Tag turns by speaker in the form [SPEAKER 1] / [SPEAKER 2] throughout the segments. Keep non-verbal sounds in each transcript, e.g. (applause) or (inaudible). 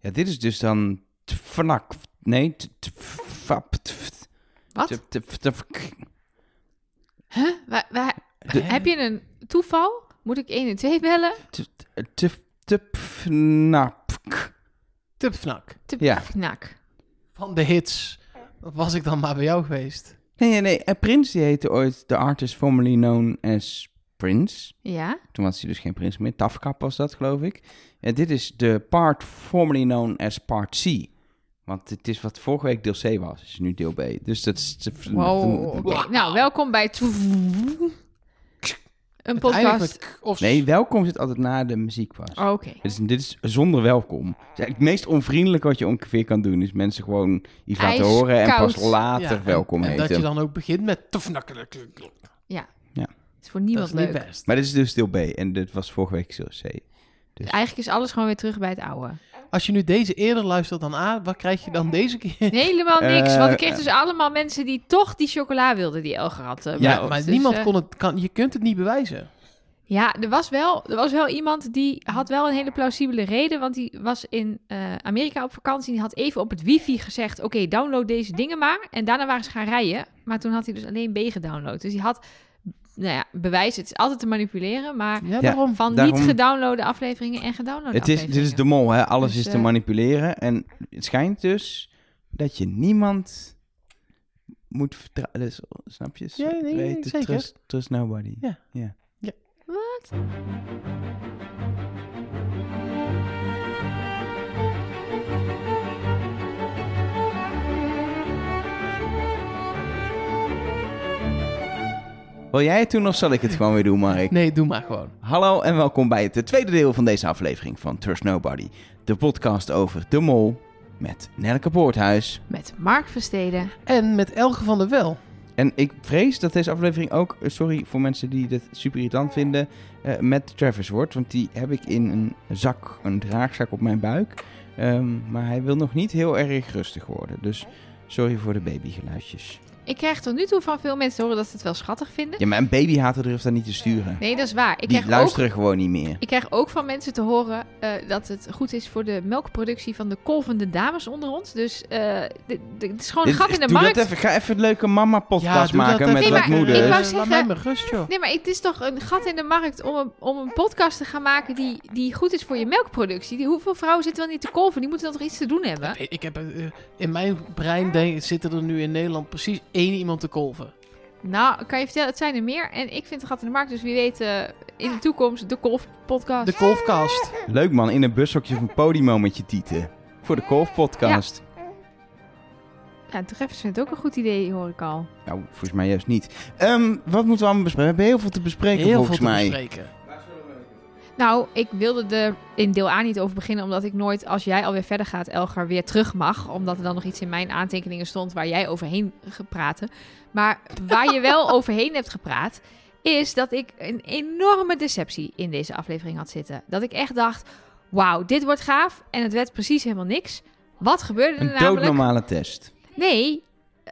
[SPEAKER 1] Ja, dit is dus dan tfnak. Nee, t- tfap. tf-
[SPEAKER 2] Wat?
[SPEAKER 1] tf- tf- tf-
[SPEAKER 2] Huh? Waar, waar- Heb je een toeval? Moet ik 1 en 2 bellen?
[SPEAKER 1] t- tf- tfnak.
[SPEAKER 3] Tupfnak.
[SPEAKER 2] Tip,
[SPEAKER 1] Ja.
[SPEAKER 2] knak.
[SPEAKER 3] Van de hits. Was ik dan maar bij jou geweest.
[SPEAKER 1] Nee, nee, nee. En Prins die heette ooit de artist formerly known as Prince.
[SPEAKER 2] Ja?
[SPEAKER 1] Toen was hij dus geen prins meer. Tafkap was dat, geloof ik. En dit is de part formerly known as part C. Want het is wat vorige week deel C was, is nu deel B. Dus dat is...
[SPEAKER 2] Wow. oké. Nou, welkom bij Tw- Een podcast.
[SPEAKER 3] Uiteindelijk met Os.
[SPEAKER 1] Nee, welkom zit altijd na de muziek was.
[SPEAKER 2] Oké.
[SPEAKER 1] Dit, is, dit is zonder welkom. Het is eigenlijk het meest onvriendelijke wat je ongeveer kan doen. Is mensen gewoon iets laten
[SPEAKER 2] Ijskoud.
[SPEAKER 1] horen en pas
[SPEAKER 3] Ja,
[SPEAKER 1] later
[SPEAKER 3] en-
[SPEAKER 1] welkom
[SPEAKER 3] en,
[SPEAKER 1] heten.
[SPEAKER 3] dat je dan ook begint met tupfnak.
[SPEAKER 2] Ja.
[SPEAKER 1] Ja.
[SPEAKER 2] Is voor
[SPEAKER 3] Dat is
[SPEAKER 2] niemand
[SPEAKER 3] niet
[SPEAKER 2] leuk.
[SPEAKER 3] best.
[SPEAKER 1] Maar dit is dus deel B en dit was vorige week deel C.
[SPEAKER 2] Eigenlijk is alles gewoon weer terug bij het oude.
[SPEAKER 3] Als je nu deze eerder luistert dan A, wat krijg je dan deze keer?
[SPEAKER 2] Helemaal niks.
[SPEAKER 1] Eh,
[SPEAKER 2] want ik kreeg dus allemaal mensen die toch die chocola wilden die Elger had. eh,
[SPEAKER 1] Ja,
[SPEAKER 3] (laughs) Ja,
[SPEAKER 2] beloofd.
[SPEAKER 3] maar
[SPEAKER 2] Dus,
[SPEAKER 3] niemand
[SPEAKER 2] eh,
[SPEAKER 3] kon het, kan, je kunt het niet bewijzen.
[SPEAKER 2] Ja, er was, wel, er was wel iemand die had wel een hele plausibele reden. Want die was in eh, Amerika op vakantie. En die had even op het wifi gezegd: Oké, download deze dingen maar. En daarna waren ze gaan rijden. Maar toen had hij dus alleen B gedownload. Dus die had, nou ja, bewijs. Het is altijd te manipuleren. Maar
[SPEAKER 3] Ja, daarom.
[SPEAKER 2] van
[SPEAKER 1] daarom-
[SPEAKER 2] niet gedownloade afleveringen en gedownloade
[SPEAKER 1] Het is,
[SPEAKER 2] afleveringen.
[SPEAKER 1] dit is de mol, hè? alles
[SPEAKER 2] Dus,
[SPEAKER 1] is te
[SPEAKER 2] eh,
[SPEAKER 1] manipuleren. En het schijnt dus dat je niemand moet vertrouwen. Dus, snap je?
[SPEAKER 3] Ja, nee, nee,
[SPEAKER 1] Weet
[SPEAKER 3] nee,
[SPEAKER 1] het,
[SPEAKER 3] zeker.
[SPEAKER 1] Trust, trust nobody.
[SPEAKER 3] Ja.
[SPEAKER 1] ja.
[SPEAKER 3] Ja.
[SPEAKER 2] Wat?
[SPEAKER 1] Wil jij het doen of zal ik het gewoon weer doen, Mark?
[SPEAKER 3] Nee, doe maar gewoon.
[SPEAKER 1] Hallo en welkom bij het tweede deel van deze aflevering van Trust Nobody. De podcast over de mol met Nelke Poorthuis.
[SPEAKER 2] Met Mark Versteden.
[SPEAKER 3] En met Elge van der Wel.
[SPEAKER 1] En ik vrees dat deze aflevering ook, eh, sorry voor mensen die dit super irritant vinden, eh, met Travis wordt. Want die heb ik in een zak, een draagzak op mijn buik. Ehm, maar hij wil nog niet heel erg rustig worden. Dus sorry voor de
[SPEAKER 2] (laughs)
[SPEAKER 1] babygeluidjes.
[SPEAKER 2] Ik krijg tot nu toe van veel mensen te horen dat ze het wel schattig vinden.
[SPEAKER 1] Ja, maar een babyhater durft dat niet te sturen.
[SPEAKER 2] Nee, dat is waar. Ik
[SPEAKER 1] die
[SPEAKER 2] krijg ook
[SPEAKER 1] luisteren gewoon niet meer.
[SPEAKER 2] Ik krijg ook van mensen te horen eh, dat het goed is voor de melkproductie van de kolvende dames onder ons. Dus eh, dit- dit- het is gewoon een
[SPEAKER 1] Dit
[SPEAKER 2] gat
[SPEAKER 1] is-
[SPEAKER 2] in de
[SPEAKER 1] doe
[SPEAKER 2] markt.
[SPEAKER 1] dat even, ga even een leuke mama-podcast
[SPEAKER 3] doe dat
[SPEAKER 1] maken
[SPEAKER 3] even.
[SPEAKER 1] met
[SPEAKER 2] Nee,
[SPEAKER 1] wat
[SPEAKER 2] maar
[SPEAKER 1] moeders.
[SPEAKER 2] ik wou
[SPEAKER 3] Eh,
[SPEAKER 2] zeggen-
[SPEAKER 3] Laat mij maar rust, joh.
[SPEAKER 2] Nee, maar het is toch een gat in de markt om een, om een podcast te gaan maken die, die goed is voor je melkproductie. Die, hoeveel vrouwen zitten wel niet te kolven? Die moeten dan toch iets te doen hebben?
[SPEAKER 3] Ik- Ik heb, eh, eh, in mijn brein denk, zitten er nu in Nederland precies één iemand te kolven.
[SPEAKER 2] Nou, ik kan je vertellen, het zijn er meer. En ik vind een gat in de markt, dus wie weet eh, in de toekomst de kolfpodcast.
[SPEAKER 3] De kolfkast.
[SPEAKER 1] Leuk man, in een bushokje van Podimo met je tieten. Voor de golfpodcast.
[SPEAKER 2] ja, Treffers vindt het ook een goed idee, hoor ik al.
[SPEAKER 1] Nou, volgens mij juist niet. Ehm, wat moeten we allemaal bespreken? We hebben heel veel te bespreken
[SPEAKER 3] Heel veel
[SPEAKER 1] volgens
[SPEAKER 3] te
[SPEAKER 1] mij.
[SPEAKER 3] bespreken.
[SPEAKER 2] Nou, ik wilde er in deel A niet over beginnen, omdat ik nooit, als jij alweer verder gaat, Elgar, weer terug mag. Omdat er dan nog iets in mijn aantekeningen stond waar jij overheen gepraat. Maar waar je wel overheen hebt gepraat, is dat ik een enorme deceptie in deze aflevering had zitten. Dat ik echt dacht, wauw, dit wordt gaaf. En het werd precies helemaal niks. Wat gebeurde er
[SPEAKER 1] Een
[SPEAKER 2] namelijk?
[SPEAKER 1] doodnormale test.
[SPEAKER 2] Nee,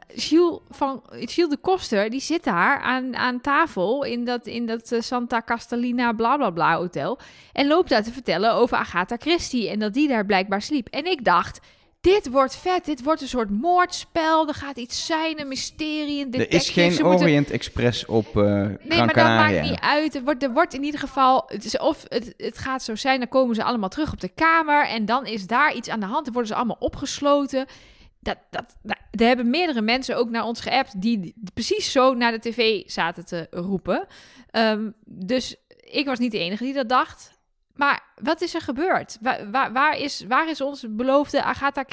[SPEAKER 2] Gilles, van, Gilles de Koster, die zit daar aan, aan tafel in dat, in dat eh, Santa Castellina bla bla bla hotel. En loopt daar te vertellen over Agatha Christie en dat die daar blijkbaar sliep. En ik dacht, dit wordt vet, dit wordt een soort moordspel, er gaat iets zijn, een mysterie, een
[SPEAKER 1] Er
[SPEAKER 2] detective.
[SPEAKER 1] is geen
[SPEAKER 2] ze moeten-
[SPEAKER 1] Orient Express op eh
[SPEAKER 2] Nee,
[SPEAKER 1] Gran
[SPEAKER 2] maar dat
[SPEAKER 1] Canaria.
[SPEAKER 2] maakt niet uit. Er wordt, er wordt in ieder geval. Het is of het, het gaat zo zijn, dan komen ze allemaal terug op de kamer. En dan is daar iets aan de hand. Dan worden ze allemaal opgesloten. Dat, dat, nou, er hebben meerdere mensen ook naar ons geappt. die d- precies zo naar de tv zaten te roepen. Ehm, dus ik was niet de enige die dat dacht. Maar wat is er gebeurd? Waar, waar, waar, is, waar is onze beloofde Agatha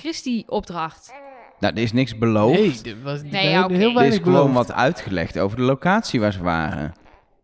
[SPEAKER 2] Christie-opdracht?
[SPEAKER 1] Nou, er is niks beloofd.
[SPEAKER 3] Nee, er was er
[SPEAKER 2] Nee, ja,
[SPEAKER 3] werd
[SPEAKER 2] oké.
[SPEAKER 3] heel
[SPEAKER 1] er is
[SPEAKER 3] weinig
[SPEAKER 1] gewoon
[SPEAKER 3] beloofd.
[SPEAKER 1] wat uitgelegd over de locatie waar ze waren.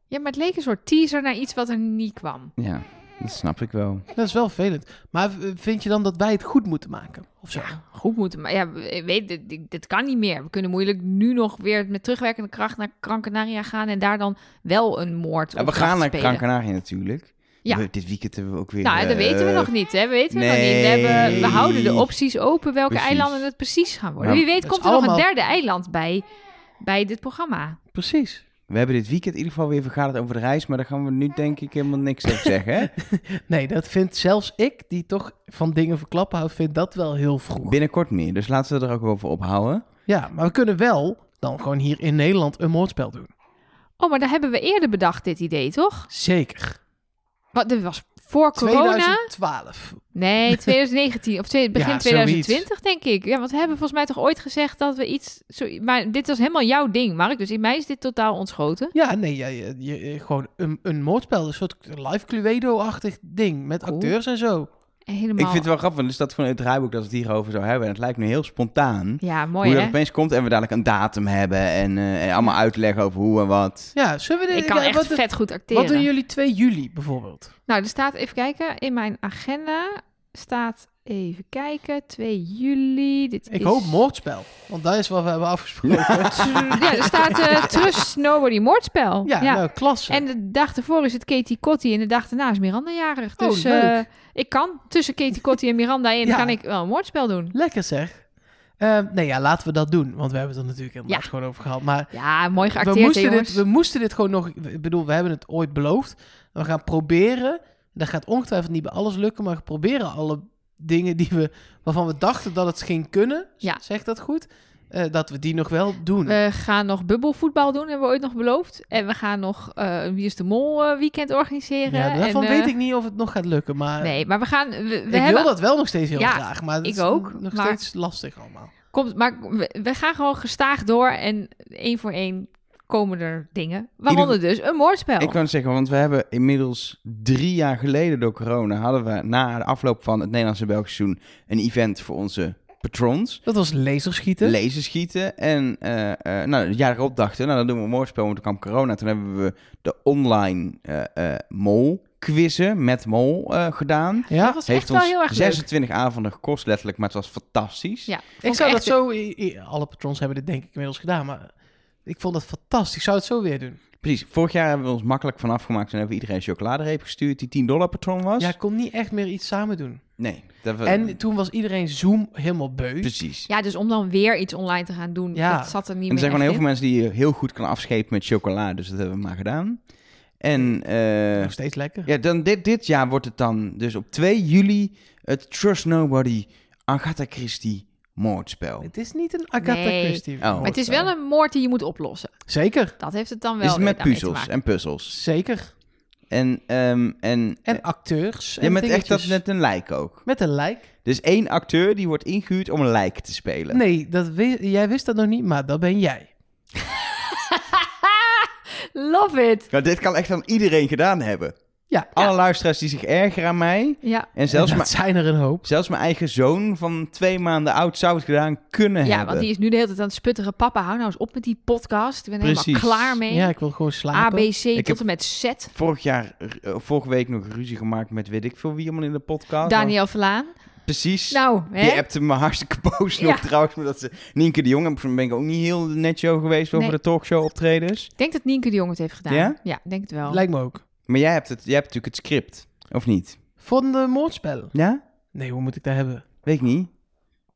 [SPEAKER 2] Ja, maar het leek een soort teaser naar iets wat er niet kwam.
[SPEAKER 1] Ja, dat snap ik wel.
[SPEAKER 3] Dat is wel vervelend. Maar eh, vind je dan dat wij het goed moeten maken? Of zo?
[SPEAKER 2] Ja, goed moeten. Maar ja, ik weet, dit, dit- dit kan niet meer. We kunnen moeilijk nu nog weer met terugwerkende kracht naar Gran Canaria gaan en daar dan wel een moord
[SPEAKER 1] Ja, we
[SPEAKER 2] opdracht
[SPEAKER 1] gaan naar
[SPEAKER 2] spelen.
[SPEAKER 1] Gran Canaria natuurlijk.
[SPEAKER 2] Ja.
[SPEAKER 1] We- dit weekend hebben we ook weer...
[SPEAKER 2] Nou, dat weten we
[SPEAKER 1] eh,
[SPEAKER 2] nog niet, hè? We weten we nog
[SPEAKER 1] nee.
[SPEAKER 2] niet. We, hebben, we houden de opties open welke
[SPEAKER 1] Precies.
[SPEAKER 2] eilanden het precies gaan worden.
[SPEAKER 1] Nou,
[SPEAKER 2] Wie weet
[SPEAKER 3] dat
[SPEAKER 2] komt
[SPEAKER 3] is
[SPEAKER 2] er nog een
[SPEAKER 3] allemaal-
[SPEAKER 2] derde eiland bij, bij dit programma.
[SPEAKER 3] Precies.
[SPEAKER 1] We hebben dit weekend in ieder geval weer vergaderd over de reis, maar daar gaan we nu denk ik helemaal niks over zeggen. Hè?
[SPEAKER 3] Nee, dat vindt zelfs ik, die toch van dingen verklappen houdt, vind dat wel heel vroeg.
[SPEAKER 1] Binnenkort meer, dus laten we er ook over ophouden.
[SPEAKER 3] Ja, maar we kunnen wel dan gewoon hier in Nederland een moordspel doen.
[SPEAKER 2] Oh, maar daar hebben we eerder bedacht, dit idee, toch?
[SPEAKER 3] Zeker.
[SPEAKER 2] Wat, dat was voor corona?
[SPEAKER 3] 2012. (laughs)
[SPEAKER 2] Nee, 2019 of twee- begin
[SPEAKER 3] Ja, zoiets.
[SPEAKER 2] 2020 denk ik. Ja, want we hebben volgens mij toch ooit gezegd dat we iets... Zo, maar dit was helemaal jouw ding, Mark. Dus in mij is dit totaal ontschoten.
[SPEAKER 3] Ja, nee, ja, je, je- gewoon een, een moordspel. Een soort live Cluedo-achtig ding met
[SPEAKER 2] Cool.
[SPEAKER 3] acteurs en zo.
[SPEAKER 2] Helemaal.
[SPEAKER 1] Ik vind het wel grappig, want er staat gewoon in het draaiboek dat we het hierover zou hebben. En het lijkt nu heel spontaan.
[SPEAKER 2] Ja,
[SPEAKER 1] hoe
[SPEAKER 2] mooi
[SPEAKER 1] dat
[SPEAKER 2] hè?
[SPEAKER 1] opeens komt en we dadelijk een datum hebben en, eh, en allemaal uitleggen over hoe en wat.
[SPEAKER 3] Ja, zullen we dit...
[SPEAKER 2] Ik kan
[SPEAKER 3] ja,
[SPEAKER 2] echt
[SPEAKER 3] wat,
[SPEAKER 2] vet goed acteren.
[SPEAKER 3] wat doen jullie 2 juli bijvoorbeeld?
[SPEAKER 2] Nou, er staat, even kijken, in mijn agenda staat, even kijken, 2 juli. Dit
[SPEAKER 3] Ik
[SPEAKER 2] is...
[SPEAKER 3] hoop moordspel, want dat is wat we hebben afgesproken.
[SPEAKER 2] (laughs) Ja, er staat
[SPEAKER 3] (laughs)
[SPEAKER 2] eh, Trust Nobody Moordspel.
[SPEAKER 3] ja, nou, klasse.
[SPEAKER 2] En de dag ervoor is het Katie Cotty en de dag daarna is Miranda jarig.
[SPEAKER 3] Oh,
[SPEAKER 2] Dus
[SPEAKER 3] leuk.
[SPEAKER 2] eh, ik kan tussen Katie Cotty en Miranda in
[SPEAKER 3] Ja.
[SPEAKER 2] kan ik wel een moordspel doen.
[SPEAKER 3] Lekker zeg. Eh, nee, ja, laten we dat doen, want we hebben het er natuurlijk helemaal
[SPEAKER 2] Ja.
[SPEAKER 3] gewoon over gehad. Maar
[SPEAKER 2] Ja, mooi
[SPEAKER 3] we
[SPEAKER 2] geacteerd, hè,
[SPEAKER 3] moesten,
[SPEAKER 2] jongens.
[SPEAKER 3] dit, we moesten dit gewoon nog... Ik bedoel, we hebben het ooit beloofd. We gaan proberen... Dat gaat ongetwijfeld niet bij alles lukken, maar we proberen alle dingen die we, waarvan we dachten dat het ging kunnen,
[SPEAKER 2] Ja.
[SPEAKER 3] zeg dat goed, eh, dat we die nog wel doen.
[SPEAKER 2] We gaan nog bubbelvoetbal doen, hebben we ooit nog beloofd. En we gaan nog eh, een Wie is de Mol eh, weekend organiseren.
[SPEAKER 3] ja, daarvan
[SPEAKER 2] en, eh,
[SPEAKER 3] weet ik niet of het nog gaat lukken, maar
[SPEAKER 2] Nee, maar we gaan... We, we
[SPEAKER 3] ik
[SPEAKER 2] hebben...
[SPEAKER 3] wil dat wel nog steeds heel
[SPEAKER 2] Ja,
[SPEAKER 3] graag. Maar dat
[SPEAKER 2] ik
[SPEAKER 3] is
[SPEAKER 2] ook,
[SPEAKER 3] nog
[SPEAKER 2] maar-
[SPEAKER 3] steeds lastig allemaal.
[SPEAKER 2] Komt, maar we, we gaan gewoon gestaag door en één voor één komen er dingen. Waaronder dus een moordspel.
[SPEAKER 1] Ik kan het zeggen, want we hebben inmiddels drie jaar geleden door corona... hadden we na de afloop van het Nederlandse en Belgische seizoen... een event voor onze patrons.
[SPEAKER 3] Dat was laserschieten.
[SPEAKER 1] Laserschieten schieten. En eh eh nou, het jaar erop dachten, nou dan doen we een moordspel, want toen kwam corona. Toen hebben we de online eh eh, mol quizzen met mol eh, gedaan.
[SPEAKER 2] Dat
[SPEAKER 3] ja,
[SPEAKER 2] was echt
[SPEAKER 1] Heeft ons
[SPEAKER 2] wel heel erg leuk.
[SPEAKER 1] 26 avonden gekost letterlijk, maar het was fantastisch.
[SPEAKER 2] Ja,
[SPEAKER 3] ik
[SPEAKER 2] vond
[SPEAKER 3] zou dat
[SPEAKER 2] echt-
[SPEAKER 3] zo... i- i- Alle patrons hebben dit denk ik inmiddels gedaan, maar ik vond dat fantastisch. Ik zou het zo weer doen.
[SPEAKER 1] Precies. Vorig jaar hebben we ons makkelijk vanaf gemaakt en hebben we iedereen een chocoladereep gestuurd die 10 dollar patron was.
[SPEAKER 3] Ja, ik kon niet echt meer iets samen doen.
[SPEAKER 1] Nee. Dat we,
[SPEAKER 3] En toen was iedereen Zoom helemaal beu.
[SPEAKER 1] Eh, precies.
[SPEAKER 2] Ja, dus om dan weer iets online te gaan doen,
[SPEAKER 3] Ja.
[SPEAKER 2] dat zat er
[SPEAKER 1] En
[SPEAKER 2] niet
[SPEAKER 1] er
[SPEAKER 2] meer
[SPEAKER 1] zijn gewoon heel
[SPEAKER 2] echt
[SPEAKER 1] veel mensen die je heel goed kan afschepen met chocola, dus dat hebben we maar gedaan. En eh,
[SPEAKER 3] nog steeds lekker.
[SPEAKER 1] Ja, dan dit, dit jaar wordt het dan dus op 2 juli het Trust Nobody Agatha Christie moordspel.
[SPEAKER 3] Het is niet een Agatha
[SPEAKER 2] Oh. Nee.
[SPEAKER 3] Christie.
[SPEAKER 1] Oh.
[SPEAKER 2] Maar het is
[SPEAKER 3] moordspel.
[SPEAKER 2] wel een moord die je moet oplossen.
[SPEAKER 3] Zeker,
[SPEAKER 2] Dat heeft het dan wel
[SPEAKER 1] Is het
[SPEAKER 2] weer
[SPEAKER 1] met
[SPEAKER 2] daarmee te
[SPEAKER 1] puzzels
[SPEAKER 2] maken. (laughs)
[SPEAKER 1] en puzzels.
[SPEAKER 3] zeker.
[SPEAKER 1] En, ehm, en,
[SPEAKER 3] En acteurs en
[SPEAKER 1] ja, met echt dat
[SPEAKER 3] dingetjes.
[SPEAKER 1] met een lijk ook.
[SPEAKER 3] Met een lijk.
[SPEAKER 1] Dus één acteur die wordt ingehuurd om een lijk te spelen.
[SPEAKER 3] Nee, dat wi- jij wist dat nog niet, maar dat ben jij.
[SPEAKER 2] Love it!
[SPEAKER 1] Nou, dit kan echt aan iedereen gedaan hebben.
[SPEAKER 3] Ja,
[SPEAKER 1] Alle luisteraars die zich ergeren aan mij.
[SPEAKER 2] Ja,
[SPEAKER 1] En zelfs,
[SPEAKER 3] dat
[SPEAKER 1] mijn-
[SPEAKER 3] zijn er een hoop.
[SPEAKER 1] zelfs mijn eigen zoon van twee maanden oud zou het gedaan kunnen
[SPEAKER 2] ja
[SPEAKER 1] hebben.
[SPEAKER 2] want die is nu de hele tijd aan het sputteren. Papa, hou nou eens op met die podcast. Ik ben
[SPEAKER 1] Precies.
[SPEAKER 2] helemaal klaar mee.
[SPEAKER 3] Ja, ik wil gewoon slapen.
[SPEAKER 2] ABC
[SPEAKER 1] heb- Oh,
[SPEAKER 2] tot en met Z.
[SPEAKER 1] Vorig jaar, eh, vorige week nog ruzie gemaakt met weet ik veel wie allemaal in de podcast.
[SPEAKER 2] Daniel Vlaan.
[SPEAKER 1] Precies.
[SPEAKER 2] Nou,
[SPEAKER 1] oh. Die
[SPEAKER 2] hè?
[SPEAKER 1] appte me hartstikke (laughs) boos nog
[SPEAKER 2] Ja.
[SPEAKER 1] trouwens. Omdat ze, Nienke de Jong, en toen ben ik ook niet heel netjo geweest over
[SPEAKER 2] Nee.
[SPEAKER 1] de talkshow optredens.
[SPEAKER 2] Ik denk dat Nienke de Jong het heeft gedaan.
[SPEAKER 1] Ja?
[SPEAKER 2] Ja, ik denk het wel.
[SPEAKER 3] Lijkt me ook.
[SPEAKER 1] Maar jij hebt, het, jij hebt natuurlijk het script, of niet?
[SPEAKER 3] Van de moordspellen.
[SPEAKER 1] Ja?
[SPEAKER 3] Nee, hoe moet ik dat hebben?
[SPEAKER 1] Weet ik niet.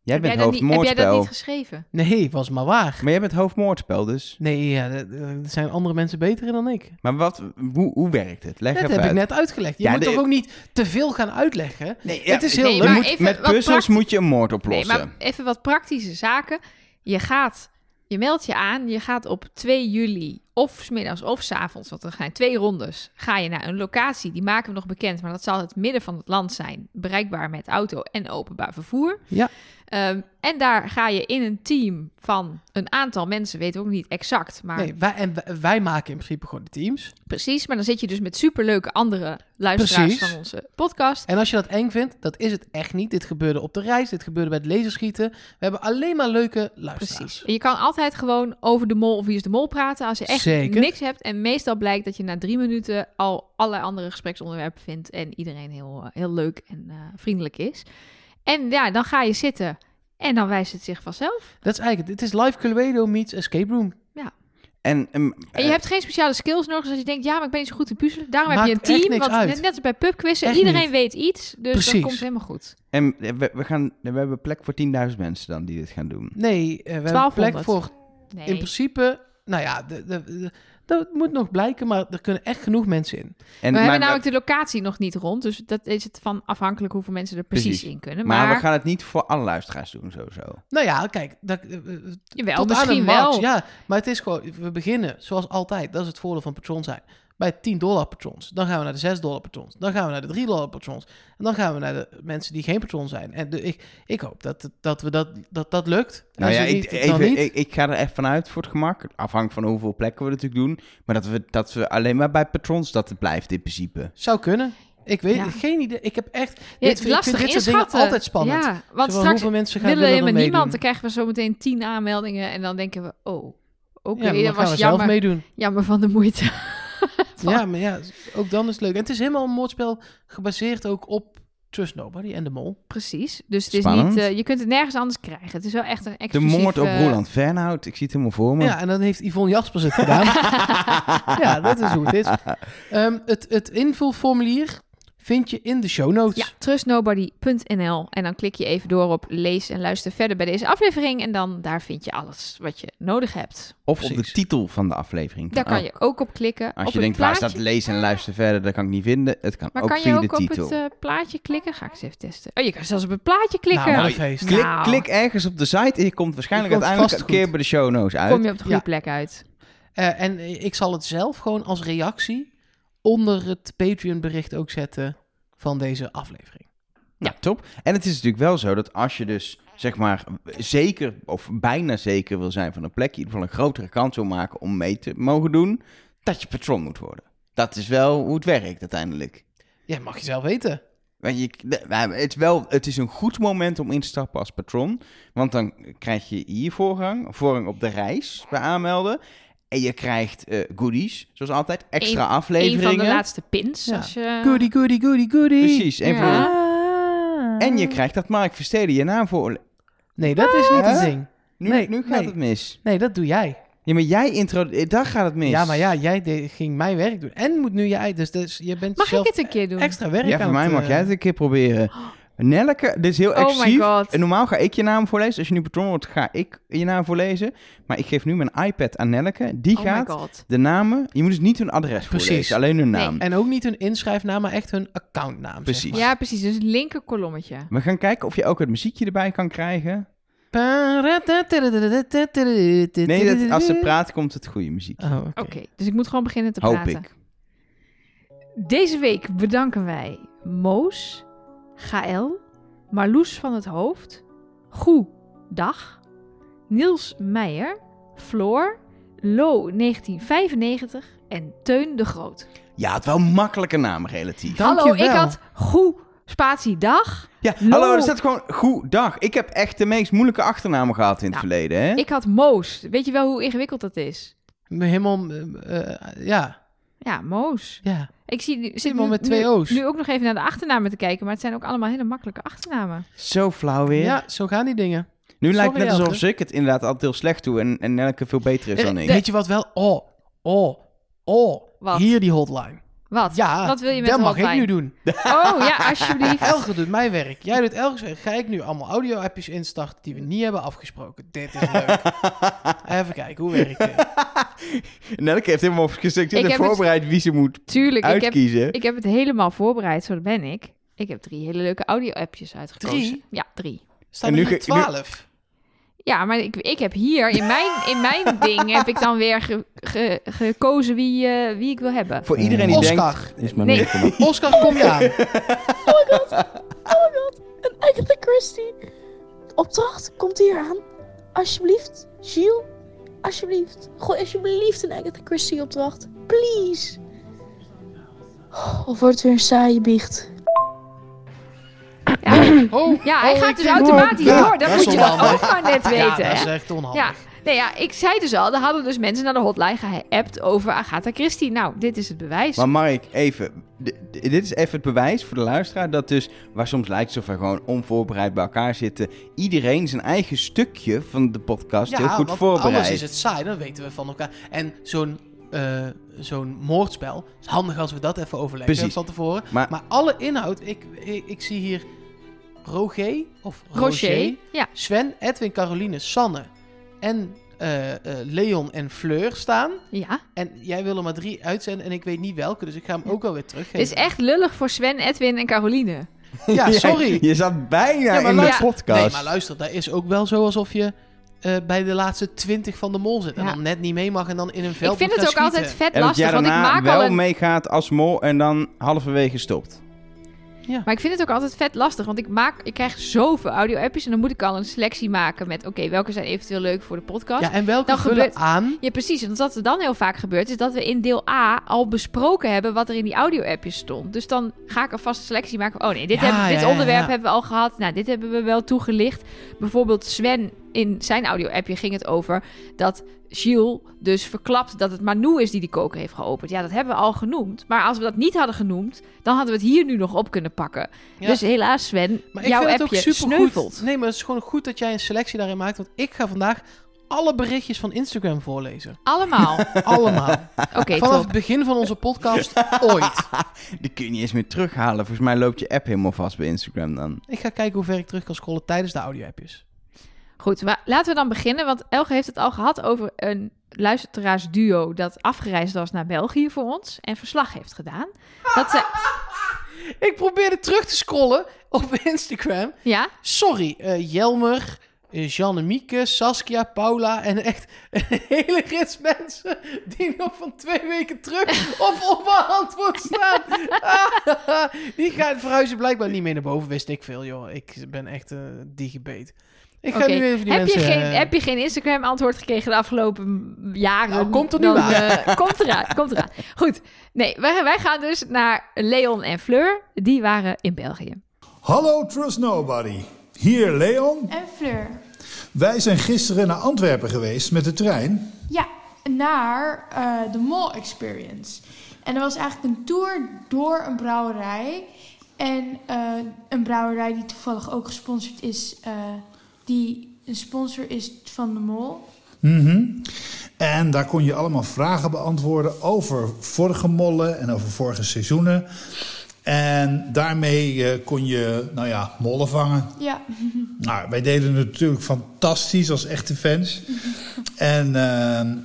[SPEAKER 1] Jij
[SPEAKER 2] heb, jij
[SPEAKER 1] bent
[SPEAKER 2] dat niet, heb jij dat
[SPEAKER 1] hoofdmoordspel.
[SPEAKER 2] niet geschreven?
[SPEAKER 3] Nee, was maar waar.
[SPEAKER 1] Maar jij bent hoofdmoordspel dus.
[SPEAKER 3] Nee, ja, dat- daar zijn andere mensen beter in dan ik.
[SPEAKER 1] Maar wat, hoe, hoe werkt het? Leg
[SPEAKER 3] Dat
[SPEAKER 1] even
[SPEAKER 3] heb
[SPEAKER 1] uit.
[SPEAKER 3] ik net uitgelegd. Je
[SPEAKER 1] Ja,
[SPEAKER 3] moet
[SPEAKER 1] de-
[SPEAKER 3] toch ook niet te veel gaan uitleggen?
[SPEAKER 1] Nee, ja,
[SPEAKER 3] het is heel
[SPEAKER 2] Nee,
[SPEAKER 1] je
[SPEAKER 3] leuk.
[SPEAKER 2] maar-
[SPEAKER 1] moet-
[SPEAKER 2] even
[SPEAKER 1] met
[SPEAKER 2] wat
[SPEAKER 1] puzzels
[SPEAKER 2] praktisch-
[SPEAKER 1] moet je een moord oplossen.
[SPEAKER 2] Nee, maar even wat praktische zaken. Je gaat, je meldt je aan. Je gaat op 2 juli, of 's middags of 's avonds, want er gaan twee rondes. Ga je naar een locatie, die maken we nog bekend, maar dat zal het midden van het land zijn. Bereikbaar met auto en openbaar vervoer.
[SPEAKER 3] Ja.
[SPEAKER 2] Ehm, en daar ga je in een team van een aantal mensen, weten we ook niet exact, maar
[SPEAKER 3] Nee, wij, en wij, wij maken in principe gewoon de teams.
[SPEAKER 2] precies. Maar dan zit je dus met superleuke andere luisteraars
[SPEAKER 3] Precies.
[SPEAKER 2] van onze podcast.
[SPEAKER 3] En als je dat eng vindt, dat is het echt niet. Dit gebeurde op de reis, dit gebeurde bij het laserschieten. We hebben alleen maar leuke luisteraars.
[SPEAKER 2] Precies. En je kan altijd gewoon over de mol of wie is de mol praten als je echt
[SPEAKER 3] Zeker.
[SPEAKER 2] niks hebt. En meestal blijkt dat je na drie minuten al allerlei andere gespreksonderwerpen vindt en iedereen heel, eh, heel leuk en eh, vriendelijk is. En ja, dan ga je zitten en dan wijst het zich vanzelf.
[SPEAKER 3] Dat is eigenlijk, het. dit is live Cluedo meets Escape Room.
[SPEAKER 1] En, ehm,
[SPEAKER 2] En je
[SPEAKER 1] eh,
[SPEAKER 2] hebt geen speciale skills nodig, dus als je denkt, ja, maar ik ben niet zo goed in puzzelen. Daarom
[SPEAKER 3] Maakt
[SPEAKER 2] heb
[SPEAKER 3] echt
[SPEAKER 2] je een team,
[SPEAKER 3] niks
[SPEAKER 2] want
[SPEAKER 3] uit.
[SPEAKER 2] net, net als bij pubquizzen,
[SPEAKER 3] Echt
[SPEAKER 2] iedereen
[SPEAKER 3] niet.
[SPEAKER 2] weet iets, dus dat
[SPEAKER 3] Precies.
[SPEAKER 2] komt helemaal goed.
[SPEAKER 1] en we, we gaan, we hebben plek voor 10.000 mensen dan die dit gaan doen.
[SPEAKER 3] Nee, eh, we hebben plek
[SPEAKER 2] 1200.
[SPEAKER 3] voor
[SPEAKER 2] Nee.
[SPEAKER 3] in principe... Nou ja, de, de, de- Dat moet nog blijken, maar er kunnen echt genoeg mensen in.
[SPEAKER 1] En,
[SPEAKER 2] we hebben
[SPEAKER 1] maar-
[SPEAKER 2] namelijk de locatie nog niet rond, dus dat is het van afhankelijk hoeveel mensen er precies,
[SPEAKER 1] Precies.
[SPEAKER 2] in kunnen. Maar,
[SPEAKER 1] maar we gaan het niet voor alle luisteraars doen, sowieso.
[SPEAKER 3] Nou ja, kijk, dat, eh, eh,
[SPEAKER 2] jawel,
[SPEAKER 3] tot aan
[SPEAKER 2] misschien
[SPEAKER 3] een max,
[SPEAKER 2] wel.
[SPEAKER 3] Ja, maar het is gewoon, we beginnen zoals altijd, dat is het voordeel van patrons zijn, bij 10 dollar patrons. Dan gaan we naar de 6 dollar patrons. Dan gaan we naar de 3 dollar patrons. En dan gaan we naar de mensen die geen patron zijn. En de, ik, ik hoop dat, het- dat, we dat, dat dat lukt.
[SPEAKER 1] Nou
[SPEAKER 3] Als
[SPEAKER 1] ja,
[SPEAKER 3] het
[SPEAKER 1] ik,
[SPEAKER 3] niet, dan
[SPEAKER 1] even,
[SPEAKER 3] niet.
[SPEAKER 1] ik, ik ga er echt vanuit voor het gemak. Afhankelijk van hoeveel plekken we natuurlijk doen. Maar dat we, dat we alleen maar bij patrons dat het blijft in principe.
[SPEAKER 3] Zou kunnen. Ik weet
[SPEAKER 2] Ja.
[SPEAKER 3] het, geen idee. Ik heb echt,
[SPEAKER 2] Ja,
[SPEAKER 3] dit,
[SPEAKER 2] het is
[SPEAKER 3] ik vind
[SPEAKER 2] lastig
[SPEAKER 3] dit soort dingen
[SPEAKER 2] inschatten.
[SPEAKER 3] altijd spannend.
[SPEAKER 2] Ja, want
[SPEAKER 3] Zowel
[SPEAKER 2] straks
[SPEAKER 3] hoeveel mensen gaan
[SPEAKER 2] willen
[SPEAKER 3] willen er
[SPEAKER 2] helemaal
[SPEAKER 3] meedoen.
[SPEAKER 2] niemand. Dan krijgen we zometeen tien aanmeldingen en dan denken we, oh, oké,
[SPEAKER 3] Ja, maar dan
[SPEAKER 2] dat
[SPEAKER 3] gaan we
[SPEAKER 2] was
[SPEAKER 3] zelf
[SPEAKER 2] jammer,
[SPEAKER 3] meedoen.
[SPEAKER 2] jammer van de moeite. (laughs)
[SPEAKER 3] Ja, maar ja, ook dan is het leuk. En het is helemaal een moordspel gebaseerd ook op Trust Nobody en de Mol.
[SPEAKER 2] Precies, dus het is
[SPEAKER 1] Spannend.
[SPEAKER 2] niet, eh, je kunt het nergens anders krijgen. Het is wel echt een
[SPEAKER 1] De
[SPEAKER 2] exclusief...
[SPEAKER 1] moord op
[SPEAKER 2] eh,
[SPEAKER 1] Roland Fernhout. Ik zie het helemaal voor me.
[SPEAKER 3] Ja, en dan heeft Yvonne Jaspers het
[SPEAKER 2] (laughs)
[SPEAKER 3] gedaan. ja, dat is hoe het is. Ehm, het, het invulformulier vind je in de show notes.
[SPEAKER 2] Ja, trustnobody.nl. En dan klik je even door op lees en luister verder bij deze aflevering. En dan daar vind je alles wat je nodig
[SPEAKER 1] (laughs)
[SPEAKER 2] hebt.
[SPEAKER 1] Of op de
[SPEAKER 3] precies.
[SPEAKER 1] titel van de aflevering.
[SPEAKER 2] Daar kan
[SPEAKER 1] ook.
[SPEAKER 2] je ook op klikken.
[SPEAKER 1] Als je
[SPEAKER 2] op het
[SPEAKER 1] denkt, waar
[SPEAKER 2] plaatje.
[SPEAKER 1] staat lezen en luister verder, dat kan ik niet vinden. Het kan
[SPEAKER 2] Maar
[SPEAKER 1] ook
[SPEAKER 2] kan je
[SPEAKER 1] via
[SPEAKER 2] ook
[SPEAKER 1] de
[SPEAKER 2] op
[SPEAKER 1] titel.
[SPEAKER 2] het eh, plaatje klikken? Ga ik eens even testen. Oh, je kan zelfs op het plaatje klikken.
[SPEAKER 3] Nou,
[SPEAKER 1] Nou,
[SPEAKER 3] een feest.
[SPEAKER 1] Klik,
[SPEAKER 2] Nou.
[SPEAKER 1] klik ergens op de site en je komt waarschijnlijk
[SPEAKER 3] Je komt
[SPEAKER 1] uiteindelijk
[SPEAKER 3] vast
[SPEAKER 1] een keer
[SPEAKER 3] goed.
[SPEAKER 1] bij de show notes uit.
[SPEAKER 2] Kom je op de goede
[SPEAKER 3] Ja.
[SPEAKER 2] plek uit.
[SPEAKER 3] Eh, en ik zal het zelf gewoon als reactie onder het Patreon bericht ook zetten van deze aflevering.
[SPEAKER 1] Nou, top. En het is natuurlijk wel zo dat als je dus, zeg maar, zeker of bijna zeker wil zijn van een plekje, in ieder geval een grotere kans wil maken om mee te mogen doen, dat je patron moet worden. Dat is wel hoe het werkt uiteindelijk.
[SPEAKER 3] Ja, mag je zelf weten.
[SPEAKER 1] Want je, de- wij- het, is wel, het is een goed moment om in te stappen als patron. Want dan krijg je hier voorrang. Voorrang op de reis bij aanmelden. En je krijgt eh, goodies, zoals altijd. Extra
[SPEAKER 2] Een
[SPEAKER 1] afleveringen.
[SPEAKER 2] van de laatste pins.
[SPEAKER 3] Ja.
[SPEAKER 2] Als je...
[SPEAKER 3] Goody, goody, goody, goody.
[SPEAKER 1] Precies. Een van de-
[SPEAKER 2] Ja. Ah.
[SPEAKER 1] en je krijgt dat Mark Versteden je naam voor.
[SPEAKER 3] Nee, dat is niet het
[SPEAKER 1] Hè?
[SPEAKER 3] ding.
[SPEAKER 1] Nu,
[SPEAKER 3] Nee,
[SPEAKER 1] nu gaat
[SPEAKER 3] nee.
[SPEAKER 1] het mis.
[SPEAKER 3] Nee, dat doe jij.
[SPEAKER 1] Ja, maar jij intro... eh, Daar gaat het mis.
[SPEAKER 3] Ja, maar ja, jij de- ging mijn werk doen. En moet nu jij, dus, dus je bent
[SPEAKER 2] Mag
[SPEAKER 3] zelf
[SPEAKER 2] ik het een keer doen?
[SPEAKER 3] extra werk
[SPEAKER 1] Ja,
[SPEAKER 3] aan
[SPEAKER 1] voor mij
[SPEAKER 3] het,
[SPEAKER 1] mag
[SPEAKER 3] eh,
[SPEAKER 1] jij het een keer proberen. Nelleke, dit is heel
[SPEAKER 2] Oh my
[SPEAKER 1] exclusief.
[SPEAKER 2] God.
[SPEAKER 1] En normaal ga ik je naam voorlezen. Als je nu patron wordt, ga ik je naam voorlezen. Maar ik geef nu mijn iPad aan Nelleke. Die
[SPEAKER 2] oh
[SPEAKER 1] gaat
[SPEAKER 2] my god.
[SPEAKER 1] De namen, je moet dus niet hun adres
[SPEAKER 3] Precies.
[SPEAKER 1] voorlezen, alleen hun naam.
[SPEAKER 3] En ook niet hun inschrijfnaam, maar echt hun accountnaam.
[SPEAKER 1] Precies.
[SPEAKER 3] Zeg maar.
[SPEAKER 2] Ja, precies. Dus het linker kolommetje.
[SPEAKER 1] We gaan kijken of je ook het muziekje erbij kan krijgen. Nee, dat, als ze praat komt het goede muziek.
[SPEAKER 3] Oh, oké.
[SPEAKER 2] Oké, dus ik moet gewoon beginnen te
[SPEAKER 1] Hoop
[SPEAKER 2] praten.
[SPEAKER 1] ik.
[SPEAKER 2] Deze week bedanken wij Moos, Gaël, Marloes van het Hoofd, Goe Dag, Niels Meijer, Floor, Lo 1995 en Teun de Groot.
[SPEAKER 1] Ja, het wel een makkelijke naam relatief.
[SPEAKER 2] Hallo,
[SPEAKER 3] Dankjewel.
[SPEAKER 2] ik had Goe Spatie Dag.
[SPEAKER 1] Ja,
[SPEAKER 2] Lo.
[SPEAKER 1] hallo, er staat gewoon goed dag. Ik heb echt de meest moeilijke achternamen gehad in het
[SPEAKER 2] Nou,
[SPEAKER 1] verleden, hè?
[SPEAKER 2] Ik had Moos. Weet je wel hoe ingewikkeld dat is?
[SPEAKER 3] Helemaal, eh, eh, ja,
[SPEAKER 2] Ja, Moos.
[SPEAKER 3] ja.
[SPEAKER 2] Ik zie, nu- zit
[SPEAKER 3] Iemand
[SPEAKER 2] nu,
[SPEAKER 3] met twee
[SPEAKER 2] nu-
[SPEAKER 3] O's.
[SPEAKER 2] nu ook nog even naar de achternamen te kijken, maar het zijn ook allemaal hele makkelijke achternamen.
[SPEAKER 1] Zo flauw weer.
[SPEAKER 3] Ja, zo gaan die dingen.
[SPEAKER 1] nu lijkt het net
[SPEAKER 3] Elke.
[SPEAKER 1] alsof ik het inderdaad altijd heel slecht doe en, en Nelke veel beter is dan ik.
[SPEAKER 3] Weet je wat wel? Oh, oh, oh.
[SPEAKER 2] Wat?
[SPEAKER 3] Hier die hotline.
[SPEAKER 2] Wat?
[SPEAKER 3] Ja,
[SPEAKER 2] Wat wil je met
[SPEAKER 3] dat
[SPEAKER 2] de
[SPEAKER 3] mag ik
[SPEAKER 2] hotline?
[SPEAKER 3] nu doen.
[SPEAKER 2] Oh ja,
[SPEAKER 3] (laughs)
[SPEAKER 2] alsjeblieft.
[SPEAKER 3] Elge doet mijn werk. Jij doet Elge's werk. Ga ik nu allemaal audio-appjes instarten die we niet hebben afgesproken. Dit is
[SPEAKER 1] (laughs)
[SPEAKER 3] leuk. Even kijken, hoe werkt dit?
[SPEAKER 1] (laughs) Nelke heeft helemaal
[SPEAKER 2] Ik
[SPEAKER 1] geselecteerd en
[SPEAKER 2] heb het-
[SPEAKER 1] voorbereid wie ze moet
[SPEAKER 2] Tuurlijk, ik heb,
[SPEAKER 1] uitkiezen.
[SPEAKER 2] ik heb het helemaal voorbereid, zo ben ik. Ik heb drie hele leuke audio-appjes uitgekozen.
[SPEAKER 3] Drie?
[SPEAKER 2] Ja, drie.
[SPEAKER 3] Staan
[SPEAKER 1] En nu
[SPEAKER 3] nu
[SPEAKER 1] ge- nu-
[SPEAKER 3] 12.
[SPEAKER 2] Ja, maar ik, ik heb hier, in mijn, in
[SPEAKER 3] (laughs)
[SPEAKER 2] mijn ding, heb ik dan weer ge- ge- gekozen wie, eh, wie ik wil hebben.
[SPEAKER 1] Voor iedereen die denkt...
[SPEAKER 3] Oscar.
[SPEAKER 4] Is maar
[SPEAKER 2] Nee.
[SPEAKER 4] nee.
[SPEAKER 3] Oscar, kom je aan.
[SPEAKER 5] Oh my god, een enkele Christie. Opdracht komt hier aan. Alsjeblieft, Gilles. Alsjeblieft. Gooi alsjeblieft een Agatha Christie opdracht. Please. Oh, Of wordt het weer een saaie biecht.
[SPEAKER 2] Ja,
[SPEAKER 3] Oh,
[SPEAKER 2] ja hij
[SPEAKER 3] oh, ik
[SPEAKER 2] gaat dus
[SPEAKER 3] zie-
[SPEAKER 2] automatisch
[SPEAKER 3] Ja,
[SPEAKER 2] door. Dat,
[SPEAKER 3] dat is
[SPEAKER 2] moet je dan ook
[SPEAKER 3] onhandig.
[SPEAKER 2] maar net weten.
[SPEAKER 3] ja, dat
[SPEAKER 2] hè?
[SPEAKER 3] is echt onhandig.
[SPEAKER 2] Ja, nee, ja, ik zei dus al, er hadden dus mensen naar de hotline geappt over Agatha Christie. Nou, dit is het bewijs.
[SPEAKER 1] Maar Mark, even. D- d- dit is even het bewijs voor de luisteraar dat dus, waar soms lijkt alsof we gewoon onvoorbereid bij elkaar zitten, iedereen zijn eigen stukje van de podcast heel goed
[SPEAKER 3] want
[SPEAKER 1] voorbereidt.
[SPEAKER 3] Anders is het saai, dan weten we van elkaar. En zo'n eh, zo'n moordspel is handig als we dat even overleggen
[SPEAKER 1] Precies.
[SPEAKER 3] van tevoren.
[SPEAKER 1] Maar-
[SPEAKER 3] Maar, alle inhoud, ik, ik, ik zie hier Roger of Roger,
[SPEAKER 2] Rocher. Ja,
[SPEAKER 3] Sven, Edwin, Caroline, Sanne en eh, eh, Leon en Fleur staan.
[SPEAKER 2] Ja.
[SPEAKER 3] En jij wil er maar drie uitzenden en ik weet niet welke, dus ik ga hem ook wel weer teruggeven.
[SPEAKER 2] Het is echt lullig voor Sven, Edwin en Caroline.
[SPEAKER 1] (laughs)
[SPEAKER 3] Ja, sorry.
[SPEAKER 1] Je zat bijna
[SPEAKER 3] Ja, maar
[SPEAKER 1] in de
[SPEAKER 2] luister-
[SPEAKER 1] podcast.
[SPEAKER 3] Nee, maar luister, dat is ook wel zo alsof je eh, bij de laatste twintig van de mol zit. En
[SPEAKER 2] Ja.
[SPEAKER 3] dan net niet mee mag en dan in een veld
[SPEAKER 2] Ik vind
[SPEAKER 3] moet
[SPEAKER 2] het ook
[SPEAKER 3] gaan
[SPEAKER 2] altijd
[SPEAKER 3] schieten.
[SPEAKER 2] vet
[SPEAKER 1] en dat jij
[SPEAKER 2] lastig, want ik
[SPEAKER 1] daarna
[SPEAKER 2] maak
[SPEAKER 1] wel
[SPEAKER 2] al een...
[SPEAKER 1] meegaat als mol en dan halverwege stopt.
[SPEAKER 2] Maar ik vind het ook altijd vet lastig, want ik, maak, ik krijg zoveel audio-appjes... en dan moet ik al een selectie maken met... oké, welke zijn eventueel leuk voor de podcast?
[SPEAKER 3] Ja, en welke
[SPEAKER 2] Dan
[SPEAKER 3] vullen
[SPEAKER 2] gebeurt-
[SPEAKER 3] aan?
[SPEAKER 2] Ja, precies. Want wat er dan heel vaak gebeurt, is dat we in deel A al besproken hebben wat er in die audio-appjes stond. Dus dan ga ik alvast een selectie maken. van, Oh nee, dit,
[SPEAKER 3] Ja,
[SPEAKER 2] hebben- dit
[SPEAKER 3] ja, ja,
[SPEAKER 2] onderwerp
[SPEAKER 3] ja.
[SPEAKER 2] hebben we al gehad. Nou, dit hebben we wel toegelicht. Bijvoorbeeld Sven, in zijn audio-appje ging het over dat Gilles dus verklapt dat het Manu is die die koker heeft geopend. Ja, dat hebben we al genoemd. Maar als we dat niet hadden genoemd, dan hadden we het hier nu nog op kunnen pakken.
[SPEAKER 3] Ja.
[SPEAKER 2] Dus helaas, Sven,
[SPEAKER 3] Maar ik
[SPEAKER 2] jouw
[SPEAKER 3] vind het ook
[SPEAKER 2] appje
[SPEAKER 3] super
[SPEAKER 2] sneuvelt.
[SPEAKER 3] Nee, maar het is gewoon goed dat jij een selectie daarin maakt. Want ik ga vandaag alle berichtjes van Instagram voorlezen. (laughs)
[SPEAKER 2] Allemaal. (laughs)
[SPEAKER 3] Allemaal.
[SPEAKER 2] Oké,
[SPEAKER 3] Vanaf
[SPEAKER 2] top.
[SPEAKER 3] het begin van onze
[SPEAKER 2] (laughs)
[SPEAKER 3] podcast ooit.
[SPEAKER 1] Die kun je niet eens meer terughalen. Volgens mij loopt je app helemaal vast bij Instagram dan.
[SPEAKER 3] Ik ga kijken hoe ver ik terug kan scrollen tijdens de audio-appjes.
[SPEAKER 2] Goed, maar laten we dan beginnen. Want Elge heeft het al gehad over een luisteraarsduo dat afgereisd was naar België voor ons en verslag heeft gedaan. Dat
[SPEAKER 3] Ah!
[SPEAKER 2] ze,
[SPEAKER 3] Ik probeerde terug te scrollen op (laughs) Instagram.
[SPEAKER 2] ja,
[SPEAKER 3] Sorry, eh, Jelmer, eh, Jannemieke, Saskia, Paula en echt een hele rits mensen die nog van twee weken
[SPEAKER 2] (laughs)
[SPEAKER 3] terug op onbeantwoord staan. (laughs) Ah, die gaan verhuizen blijkbaar niet meer naar boven, wist ik veel joh. Ik ben echt eh digibeet. Ik ga
[SPEAKER 2] oké.
[SPEAKER 3] nu even die
[SPEAKER 2] heb, je
[SPEAKER 3] mensen...
[SPEAKER 2] geen,
[SPEAKER 3] eh,
[SPEAKER 2] heb je geen Instagram antwoord gekregen de afgelopen jaren?
[SPEAKER 3] Nou, komt er nu
[SPEAKER 2] dan,
[SPEAKER 3] aan.
[SPEAKER 2] eh, komt eraan, komt eraan. Goed, nee, wij, wij gaan dus naar Leon en Fleur. Die waren in België.
[SPEAKER 4] Hallo Trust Nobody. Hier Leon.
[SPEAKER 6] En Fleur.
[SPEAKER 4] Wij zijn gisteren naar Antwerpen geweest met de trein.
[SPEAKER 6] Ja, naar eh, de Mol Experience. En dat was eigenlijk een tour door een brouwerij. En eh, een brouwerij die toevallig ook gesponsord is, eh, die een sponsor is van de Mol.
[SPEAKER 4] Mhm. En daar kon je allemaal vragen beantwoorden over vorige mollen en over vorige seizoenen. En daarmee eh, kon je, nou ja, mollen vangen.
[SPEAKER 6] Ja,
[SPEAKER 4] Nou, wij deden het natuurlijk fantastisch als echte fans. En ehm,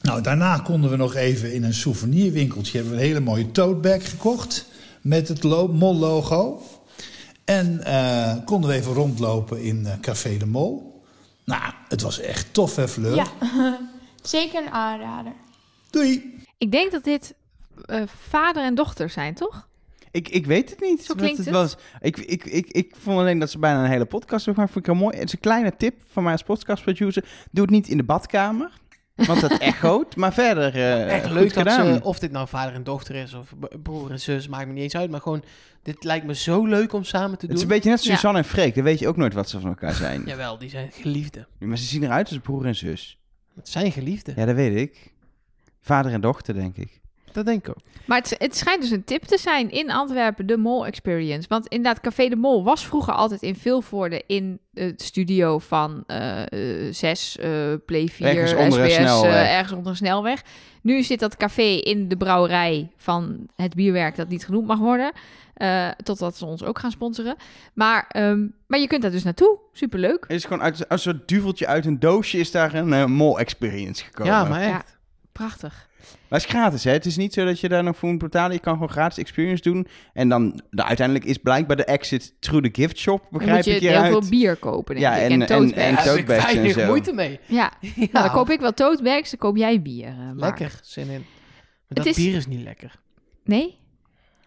[SPEAKER 4] nou, daarna konden we nog even in een souvenirwinkeltje... hebben we een hele mooie tote bag gekocht met het lo- Mol-logo. En eh, konden we even rondlopen in eh, Café de Mol. Nou, het was echt tof, hè, Fleur?
[SPEAKER 6] ja. (laughs) zeker een aanrader.
[SPEAKER 4] Doei!
[SPEAKER 2] Ik denk dat dit eh, vader en dochter zijn, toch?
[SPEAKER 1] Ik, ik weet het niet.
[SPEAKER 2] Zo
[SPEAKER 1] wat
[SPEAKER 2] klinkt het.
[SPEAKER 1] Was. Ik, ik, ik, ik vond alleen dat ze bijna een hele podcast hebben gemaakt. Vond ik heel mooi. Het is een kleine tip van mij als podcastproducer. Doe het niet in de badkamer. Want dat
[SPEAKER 2] (laughs)
[SPEAKER 1] echoot. Maar verder eh
[SPEAKER 3] Echt
[SPEAKER 1] goed
[SPEAKER 3] leuk dat
[SPEAKER 1] gedaan.
[SPEAKER 3] ze, of dit nou vader en dochter is of b- broer en zus, maakt me niet eens uit. Maar gewoon, dit lijkt me zo leuk om samen te
[SPEAKER 1] Het is een
[SPEAKER 3] doen.
[SPEAKER 1] beetje net als
[SPEAKER 2] Ja.
[SPEAKER 1] Suzanne en Freek. Dan weet je ook nooit wat ze van elkaar zijn.
[SPEAKER 3] Jawel, die zijn geliefden.
[SPEAKER 1] Maar ze zien eruit als broer en zus.
[SPEAKER 3] Het zijn geliefden.
[SPEAKER 1] Ja, dat weet ik. Vader en dochter, denk ik.
[SPEAKER 3] Dat denk ik ook.
[SPEAKER 2] Maar het, het schijnt dus een tip te zijn in Antwerpen, de Mol Experience. Want inderdaad, Café de Mol was vroeger altijd in Vilvoorde in de studio van eh, eh, 6, eh, Play 4,
[SPEAKER 1] Ergens onder een
[SPEAKER 2] SBS, eh,
[SPEAKER 1] snelweg.
[SPEAKER 2] ergens onder een snelweg. Nu zit dat café in de brouwerij van het bierwerk dat niet genoemd mag worden. Eh, totdat ze ons ook gaan sponsoren. Maar, ehm, maar je kunt daar dus naartoe. Superleuk.
[SPEAKER 1] Het is gewoon uit als een soort duveltje uit een doosje is daar een eh, mol-experience gekomen.
[SPEAKER 3] Ja, maar
[SPEAKER 2] Ja.
[SPEAKER 3] echt.
[SPEAKER 2] Prachtig.
[SPEAKER 1] Maar het is gratis, hè? Het is niet zo dat je daar nog voor moet betalen. Je kan gewoon gratis experience doen. En dan de, uiteindelijk is blijkbaar de exit through the gift shop,
[SPEAKER 2] Dan
[SPEAKER 1] begrijp
[SPEAKER 2] moet
[SPEAKER 1] ik
[SPEAKER 2] je heel
[SPEAKER 1] hieruit.
[SPEAKER 2] veel bier kopen, denk
[SPEAKER 1] Ja,
[SPEAKER 2] ik.
[SPEAKER 1] en- en-
[SPEAKER 2] tote
[SPEAKER 1] en tote-
[SPEAKER 2] bags.
[SPEAKER 3] Daar heb dus ik
[SPEAKER 1] totebags en
[SPEAKER 3] weinig
[SPEAKER 1] zo.
[SPEAKER 3] moeite mee.
[SPEAKER 2] Ja,
[SPEAKER 3] Ja,
[SPEAKER 2] Nou, dan koop ik wel tote bags, dan koop jij bier. eh, Mark.
[SPEAKER 3] Lekker, zin in. Maar dat
[SPEAKER 2] is-
[SPEAKER 3] bier is niet lekker.
[SPEAKER 2] Nee?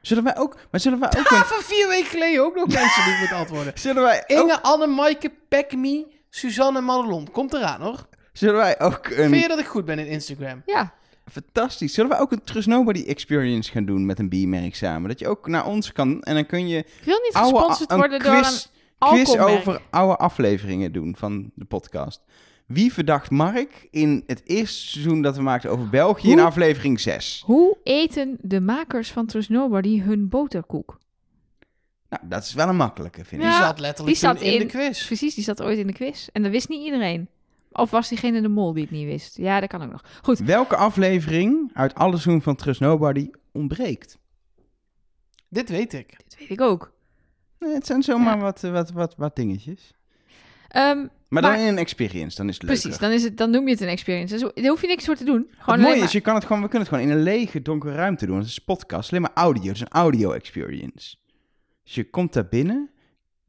[SPEAKER 1] Zullen wij ook... Maar zullen wij ook...
[SPEAKER 2] (laughs)
[SPEAKER 3] Ah,
[SPEAKER 1] een-
[SPEAKER 3] van vier weken geleden ook nog mensen die ik moet antwoorden.
[SPEAKER 1] zullen wij
[SPEAKER 2] Oh.
[SPEAKER 1] ook,
[SPEAKER 3] Inge, Anne, Maaike, Pekmi, Suzanne en Madelon. Komt eraan hoor.
[SPEAKER 1] zullen wij ook
[SPEAKER 3] Vind je
[SPEAKER 1] een...
[SPEAKER 3] dat ik goed ben in Instagram?
[SPEAKER 2] Ja.
[SPEAKER 1] Fantastisch. Zullen wij ook een Trust Nobody experience gaan doen met een biermerk samen? Dat je ook naar ons kan en dan kun je
[SPEAKER 2] Ik wil niet
[SPEAKER 1] oude,
[SPEAKER 2] gesponsord
[SPEAKER 1] een
[SPEAKER 2] worden door een
[SPEAKER 1] quiz, quiz
[SPEAKER 2] alcoholmerk.
[SPEAKER 1] over oude afleveringen doen van de podcast. Wie verdacht Mark in het eerste seizoen dat we maakten over België in
[SPEAKER 2] Hoe?
[SPEAKER 1] aflevering 6?
[SPEAKER 2] Hoe eten de makers van Trust Nobody hun boterkoek?
[SPEAKER 1] Nou, dat is wel een makkelijke, vind ik.
[SPEAKER 3] Die
[SPEAKER 2] Ja,
[SPEAKER 3] zat letterlijk
[SPEAKER 2] die
[SPEAKER 3] toen
[SPEAKER 2] zat
[SPEAKER 3] in de
[SPEAKER 2] in-
[SPEAKER 3] quiz.
[SPEAKER 2] Precies, die zat ooit in de quiz. En dat wist niet iedereen. Of was diegene de mol die het niet wist? Ja, dat kan ook nog. Goed,
[SPEAKER 1] Welke aflevering uit alle seizoen van Trust Nobody ontbreekt?
[SPEAKER 3] Dit weet ik.
[SPEAKER 2] (laughs) dit weet ik ook.
[SPEAKER 1] eh, Nee, het zijn zomaar wat, eh, wat, wat, wat dingetjes.
[SPEAKER 2] Ehm,
[SPEAKER 1] Maar dan
[SPEAKER 2] Maar-
[SPEAKER 1] in een experience, dan is het leuk.
[SPEAKER 2] precies, dan, is het, dan noem je het een experience. Dus daar hoef je niks voor te doen. Gewoon
[SPEAKER 1] het
[SPEAKER 2] alleen
[SPEAKER 1] mooie
[SPEAKER 2] maar-
[SPEAKER 1] is, je kan het gewoon, we kunnen het gewoon in een lege, donkere ruimte doen. want Het is een podcast, alleen maar audio. Het is een audio experience. Dus je komt daar binnen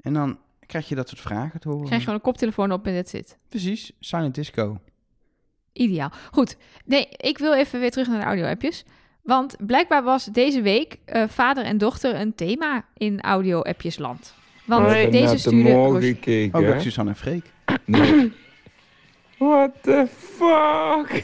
[SPEAKER 1] en dan krijg je dat soort vragen te horen.
[SPEAKER 2] krijg je gewoon een koptelefoon op en dat zit.
[SPEAKER 1] Precies, silent disco.
[SPEAKER 2] Ideaal. Goed. Nee, ik wil even weer terug naar de audio-appjes. Want blijkbaar was deze week eh, vader en dochter een thema in audio-appjes land. Want
[SPEAKER 7] Ik heb
[SPEAKER 2] deze
[SPEAKER 7] net de
[SPEAKER 2] stuurde...
[SPEAKER 7] mol
[SPEAKER 2] Roos-
[SPEAKER 7] gekeken.
[SPEAKER 1] Oh, dat
[SPEAKER 7] hè?
[SPEAKER 1] is Suzanne en (laughs) Freek.
[SPEAKER 7] Nee. What the fuck?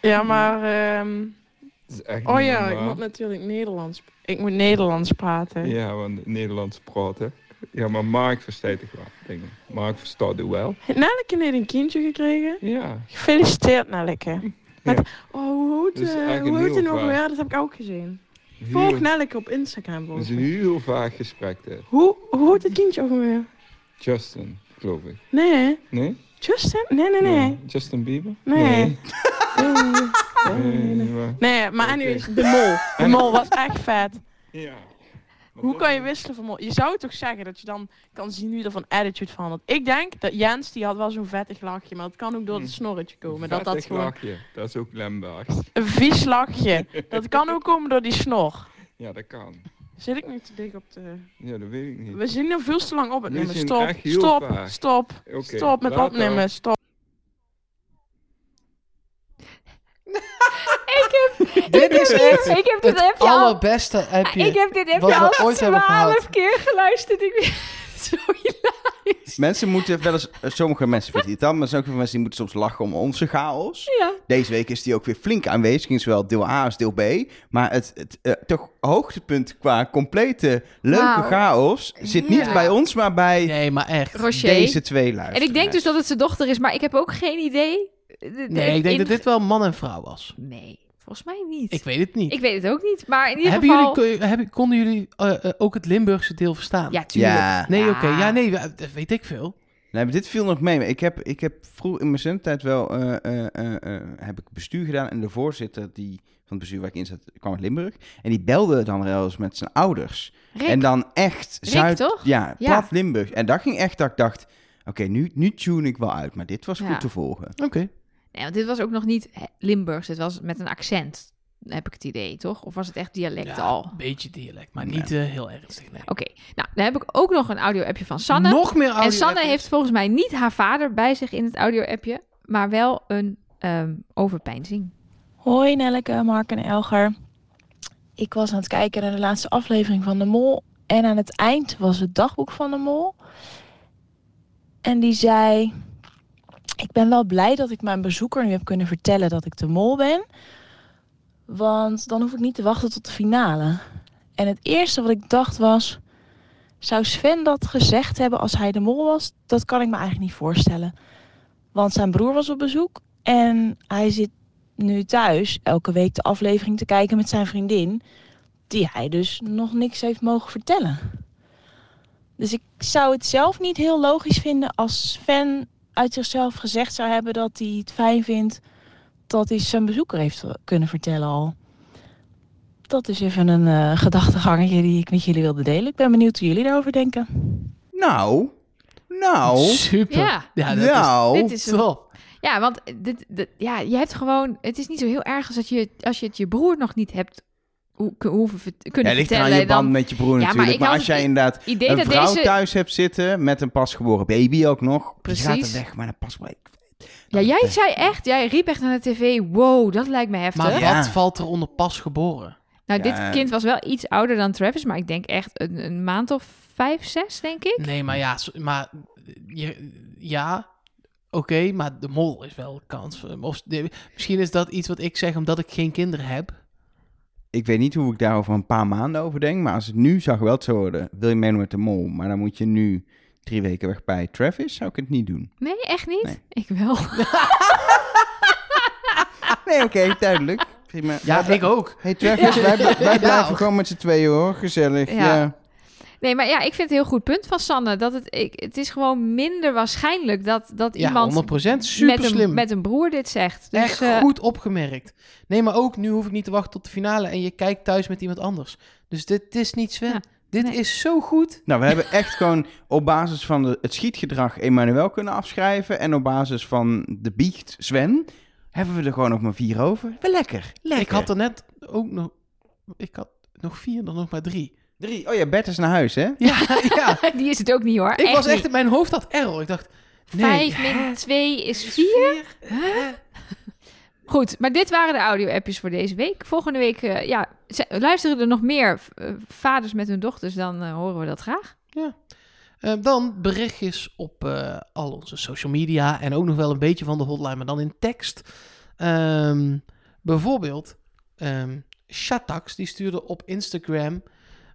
[SPEAKER 8] Ja, maar... ehm,
[SPEAKER 7] Dat is echt
[SPEAKER 8] oh
[SPEAKER 7] niet
[SPEAKER 8] ja, ik
[SPEAKER 7] normaal.
[SPEAKER 8] moet natuurlijk Nederlands... Ik moet Nederlands praten.
[SPEAKER 7] Ja, want Nederlands praten. Ja, maar Mark verstaat het wel, dingen. Mark verstaat het wel.
[SPEAKER 8] Nelleke heeft nou een kindje gekregen.
[SPEAKER 7] Ja.
[SPEAKER 8] Gefeliciteerd, Nelleke. Met,
[SPEAKER 7] Ja.
[SPEAKER 8] Oh, hoe heet,
[SPEAKER 7] Dus
[SPEAKER 8] eh,
[SPEAKER 7] eigenlijk
[SPEAKER 8] hoe heet
[SPEAKER 7] heel
[SPEAKER 8] die nog
[SPEAKER 7] vaag.
[SPEAKER 8] weer? Dat heb ik ook gezien. Volg
[SPEAKER 7] Heel,
[SPEAKER 8] Nelleke op Instagram,
[SPEAKER 7] dat is
[SPEAKER 8] volgens
[SPEAKER 7] een
[SPEAKER 8] mij.
[SPEAKER 7] heel vaag gesprek dit.
[SPEAKER 8] Hoe, hoe heet het kindje ook weer?
[SPEAKER 7] Justin, geloof ik.
[SPEAKER 8] Nee, hè?
[SPEAKER 7] Nee?
[SPEAKER 8] Justin? Nee, nee, nee.
[SPEAKER 7] Justin Bieber? Eh,
[SPEAKER 8] Nee. Nee,
[SPEAKER 7] Oh, Nee, niet waar.
[SPEAKER 8] Nee, maar
[SPEAKER 7] Oké.
[SPEAKER 8] anyways, de mol. De mol was echt vet.
[SPEAKER 7] Ja. Maar
[SPEAKER 8] Hoe
[SPEAKER 7] dat-
[SPEAKER 8] kan je wisselen van mol? Je zou toch zeggen dat je dan kan zien wie er van attitude verandert. Ik denk dat Jens, die had wel zo'n vettig lachje, maar het kan ook door het snorretje komen. Oh, Dat dat
[SPEAKER 7] Hm. Vettig
[SPEAKER 8] gewoon
[SPEAKER 7] lachje. Dat is ook Lembergs.
[SPEAKER 8] een vies
[SPEAKER 7] (laughs)
[SPEAKER 8] lachje. Dat kan ook komen door die snor.
[SPEAKER 7] Ja, dat kan.
[SPEAKER 8] Zit ik nu te dik op de...
[SPEAKER 7] Ja, dat weet ik niet.
[SPEAKER 8] We zingen veel te lang op het
[SPEAKER 7] We
[SPEAKER 8] nummer.
[SPEAKER 7] zingen
[SPEAKER 8] Stop,
[SPEAKER 7] echt heel
[SPEAKER 8] stop,
[SPEAKER 7] vaag.
[SPEAKER 8] stop.
[SPEAKER 7] Oké,
[SPEAKER 8] Stop met
[SPEAKER 7] later.
[SPEAKER 8] opnemen, stop.
[SPEAKER 2] Ik heb,
[SPEAKER 3] Dit is echt
[SPEAKER 2] ik heb dit
[SPEAKER 3] het
[SPEAKER 2] appje al-
[SPEAKER 3] allerbeste appje.
[SPEAKER 2] Ik heb dit
[SPEAKER 3] wat
[SPEAKER 2] appje
[SPEAKER 3] we
[SPEAKER 2] al
[SPEAKER 3] ooit hebben
[SPEAKER 2] twaalf
[SPEAKER 3] gehad.
[SPEAKER 2] keer geluisterd. Ik (laughs) Zo hilarisch.
[SPEAKER 1] Mensen moeten wel eens, eh, sommige mensen vinden het dan, maar sommige mensen die moeten soms lachen om onze chaos.
[SPEAKER 2] Ja.
[SPEAKER 1] Deze week is die ook weer flink aanwezig in zowel deel A als deel B. Maar het, het eh, toch hoogtepunt qua complete leuke
[SPEAKER 2] Wauw.
[SPEAKER 1] chaos zit niet
[SPEAKER 2] Ja.
[SPEAKER 1] bij ons, maar bij
[SPEAKER 3] Nee, maar echt.
[SPEAKER 2] Rocher.
[SPEAKER 1] deze twee
[SPEAKER 2] En
[SPEAKER 1] luisteraars.
[SPEAKER 2] ik denk dus dat het zijn dochter is, maar ik heb ook geen idee.
[SPEAKER 3] Nee, ik denk
[SPEAKER 2] In-
[SPEAKER 3] dat dit wel man en vrouw was.
[SPEAKER 2] Nee, volgens mij niet.
[SPEAKER 3] Ik
[SPEAKER 2] Ik,
[SPEAKER 3] weet het niet.
[SPEAKER 2] weet het ook niet, maar in ieder
[SPEAKER 3] Hebben
[SPEAKER 2] geval...
[SPEAKER 3] jullie, kun- hebben, konden jullie eh, eh, ook het Limburgse deel verstaan?
[SPEAKER 2] Ja, tuurlijk.
[SPEAKER 1] Ja,
[SPEAKER 3] Nee,
[SPEAKER 2] Ja.
[SPEAKER 3] oké. Ja, nee, we- dat weet ik veel.
[SPEAKER 1] nee, maar dit viel nog mee. Maar Ik heb, ik heb vroeg in mijn zendtijd wel eh, eh, eh, eh, heb ik bestuur gedaan. En de voorzitter die, van het bestuur waar ik in zat, kwam uit Limburg. En die belde dan wel eens met zijn ouders.
[SPEAKER 2] Rick,
[SPEAKER 1] En dan echt
[SPEAKER 2] Rick,
[SPEAKER 1] Zuid...
[SPEAKER 2] toch?
[SPEAKER 1] Ja,
[SPEAKER 2] Ja.
[SPEAKER 1] plat Limburg. En dat ging echt dat ik dacht... Oké, nu, nu tune ik wel uit, maar dit was
[SPEAKER 2] Ja.
[SPEAKER 1] goed te volgen.
[SPEAKER 3] Oké.
[SPEAKER 2] nee, want dit was ook nog niet hè, Limburgs, dit was met een accent, heb ik het idee, toch? Of was het echt dialect al?
[SPEAKER 3] een
[SPEAKER 2] Oké,
[SPEAKER 3] beetje dialect, maar niet eh, heel ernstig. Nee.
[SPEAKER 2] nou, dan heb ik ook nog een audio-appje van Sanne.
[SPEAKER 3] Nog meer audio
[SPEAKER 2] en Sanne heeft volgens mij niet haar vader bij zich in het audio-appje, maar wel een ehm overpeinzing.
[SPEAKER 5] Hoi Nelleke, Mark en Elger. Ik was aan het kijken naar de laatste aflevering van De Mol. En aan het eind was het dagboek van De Mol. En die zei... Ik ben wel blij dat ik mijn bezoeker nu heb kunnen vertellen dat ik De Mol ben. Want dan hoef ik niet te wachten tot de finale. En het eerste wat ik dacht was... Zou Sven dat gezegd hebben als hij De Mol was? Dat kan ik me eigenlijk niet voorstellen. Want zijn broer was op bezoek. En hij zit nu thuis elke week de aflevering te kijken met zijn vriendin, die hij dus nog niks heeft mogen vertellen. Dus ik zou het zelf niet heel logisch vinden als Sven uit zichzelf gezegd zou hebben dat hij het fijn vindt dat hij zijn bezoeker heeft kunnen vertellen al. Dat is even een eh, gedachtegangetje die ik met jullie wilde delen. Ik ben benieuwd hoe jullie daarover denken.
[SPEAKER 1] Nou, nou,
[SPEAKER 3] Super.
[SPEAKER 2] Ja.
[SPEAKER 3] dat
[SPEAKER 1] nou.
[SPEAKER 2] Dit
[SPEAKER 3] is
[SPEAKER 2] is een
[SPEAKER 3] top.
[SPEAKER 2] Ja, want dit, dit- ja, je hebt gewoon. Het is niet zo heel erg als dat je, als je het je broer nog niet hebt hoe, hoeven vert-
[SPEAKER 1] Ja,
[SPEAKER 2] kunnen
[SPEAKER 1] ligt eraan
[SPEAKER 2] vertellen.
[SPEAKER 1] je band met je broer
[SPEAKER 2] Ja, maar
[SPEAKER 1] natuurlijk.
[SPEAKER 2] ik
[SPEAKER 1] Maar,
[SPEAKER 2] had
[SPEAKER 1] als
[SPEAKER 2] het
[SPEAKER 1] jij
[SPEAKER 2] i-
[SPEAKER 1] inderdaad
[SPEAKER 2] dan idee
[SPEAKER 1] een
[SPEAKER 2] dat
[SPEAKER 1] vrouw
[SPEAKER 2] deze.
[SPEAKER 1] thuis hebt zitten met een pasgeboren baby ook nog. Je gaat
[SPEAKER 2] Precies.
[SPEAKER 1] er weg, maar een pasgeboren...
[SPEAKER 2] Ja, jij zei echt, jij riep echt aan de tv. Wow, dat lijkt me heftig.
[SPEAKER 3] Maar
[SPEAKER 1] Ja.
[SPEAKER 3] wat valt er onder pas geboren?
[SPEAKER 2] nou,
[SPEAKER 1] Ja.
[SPEAKER 2] dit kind was wel iets ouder dan Travis, maar ik denk echt een, een maand of vijf, zes, denk ik.
[SPEAKER 3] Nee, maar ja, s- maar je, ja, oké, maar de mol is wel kans. voor- Of, de- misschien is dat iets wat ik zeg omdat ik geen kinderen heb.
[SPEAKER 1] Ik weet niet hoe ik daar over een paar maanden over denk. Maar als het nu zou geweld zou worden, wil je meedoen met de mol. Maar dan moet je nu drie weken weg bij Travis. Zou ik het niet doen.
[SPEAKER 2] Nee, echt niet.
[SPEAKER 1] Nee.
[SPEAKER 2] Ik wel.
[SPEAKER 1] (laughs) Nee, oké, duidelijk. Prima.
[SPEAKER 3] Ja, ik ook.
[SPEAKER 1] Hey Travis, (laughs) wij, wij
[SPEAKER 3] Ja.
[SPEAKER 1] blijven gewoon met z'n tweeën hoor. Gezellig.
[SPEAKER 2] Ja.
[SPEAKER 1] Ja.
[SPEAKER 2] Nee, maar ja, ik vind het een heel goed punt van Sanne. Dat het, ik, het is gewoon minder waarschijnlijk dat, dat
[SPEAKER 3] Ja,
[SPEAKER 2] iemand
[SPEAKER 3] 100%. Super
[SPEAKER 2] met een,
[SPEAKER 3] slim.
[SPEAKER 2] met een broer dit zegt. Dus,
[SPEAKER 3] Echt
[SPEAKER 2] eh,
[SPEAKER 3] goed opgemerkt. Nee, maar ook nu hoef ik niet te wachten tot de finale en je kijkt thuis met iemand anders. Dus dit is niet Sven.
[SPEAKER 2] Ja.
[SPEAKER 3] Dit
[SPEAKER 2] Nee.
[SPEAKER 3] is zo goed.
[SPEAKER 1] Nou, we hebben echt gewoon op basis van de- het schietgedrag Emmanuel kunnen afschrijven. En op basis van de biecht Sven hebben we er gewoon nog maar vier over. Wel lekker. Lekker.
[SPEAKER 3] Ik had er net ook nog... Ik had nog vier, dan nog maar
[SPEAKER 2] (laughs)
[SPEAKER 3] drie.
[SPEAKER 1] Drie. Oh ja, Bert is naar huis, hè?
[SPEAKER 3] Ja, ja.
[SPEAKER 2] (laughs) Die is het ook niet hoor.
[SPEAKER 3] Ik was echt...
[SPEAKER 2] niet.
[SPEAKER 3] Mijn hoofd had error. Ik dacht... Nee,
[SPEAKER 2] Vijf
[SPEAKER 3] ja,
[SPEAKER 2] min twee is
[SPEAKER 3] is
[SPEAKER 2] vier. Goed, maar dit waren de audio-appjes voor deze week. Volgende week, eh, ja, z- luisteren er nog meer eh, vaders met hun dochters, dan eh, horen we dat graag.
[SPEAKER 3] Eh, dan berichtjes op eh, al onze social media en ook nog wel een beetje van de hotline, maar dan in tekst. Ehm, bijvoorbeeld, ehm Shatax, die stuurde op Instagram,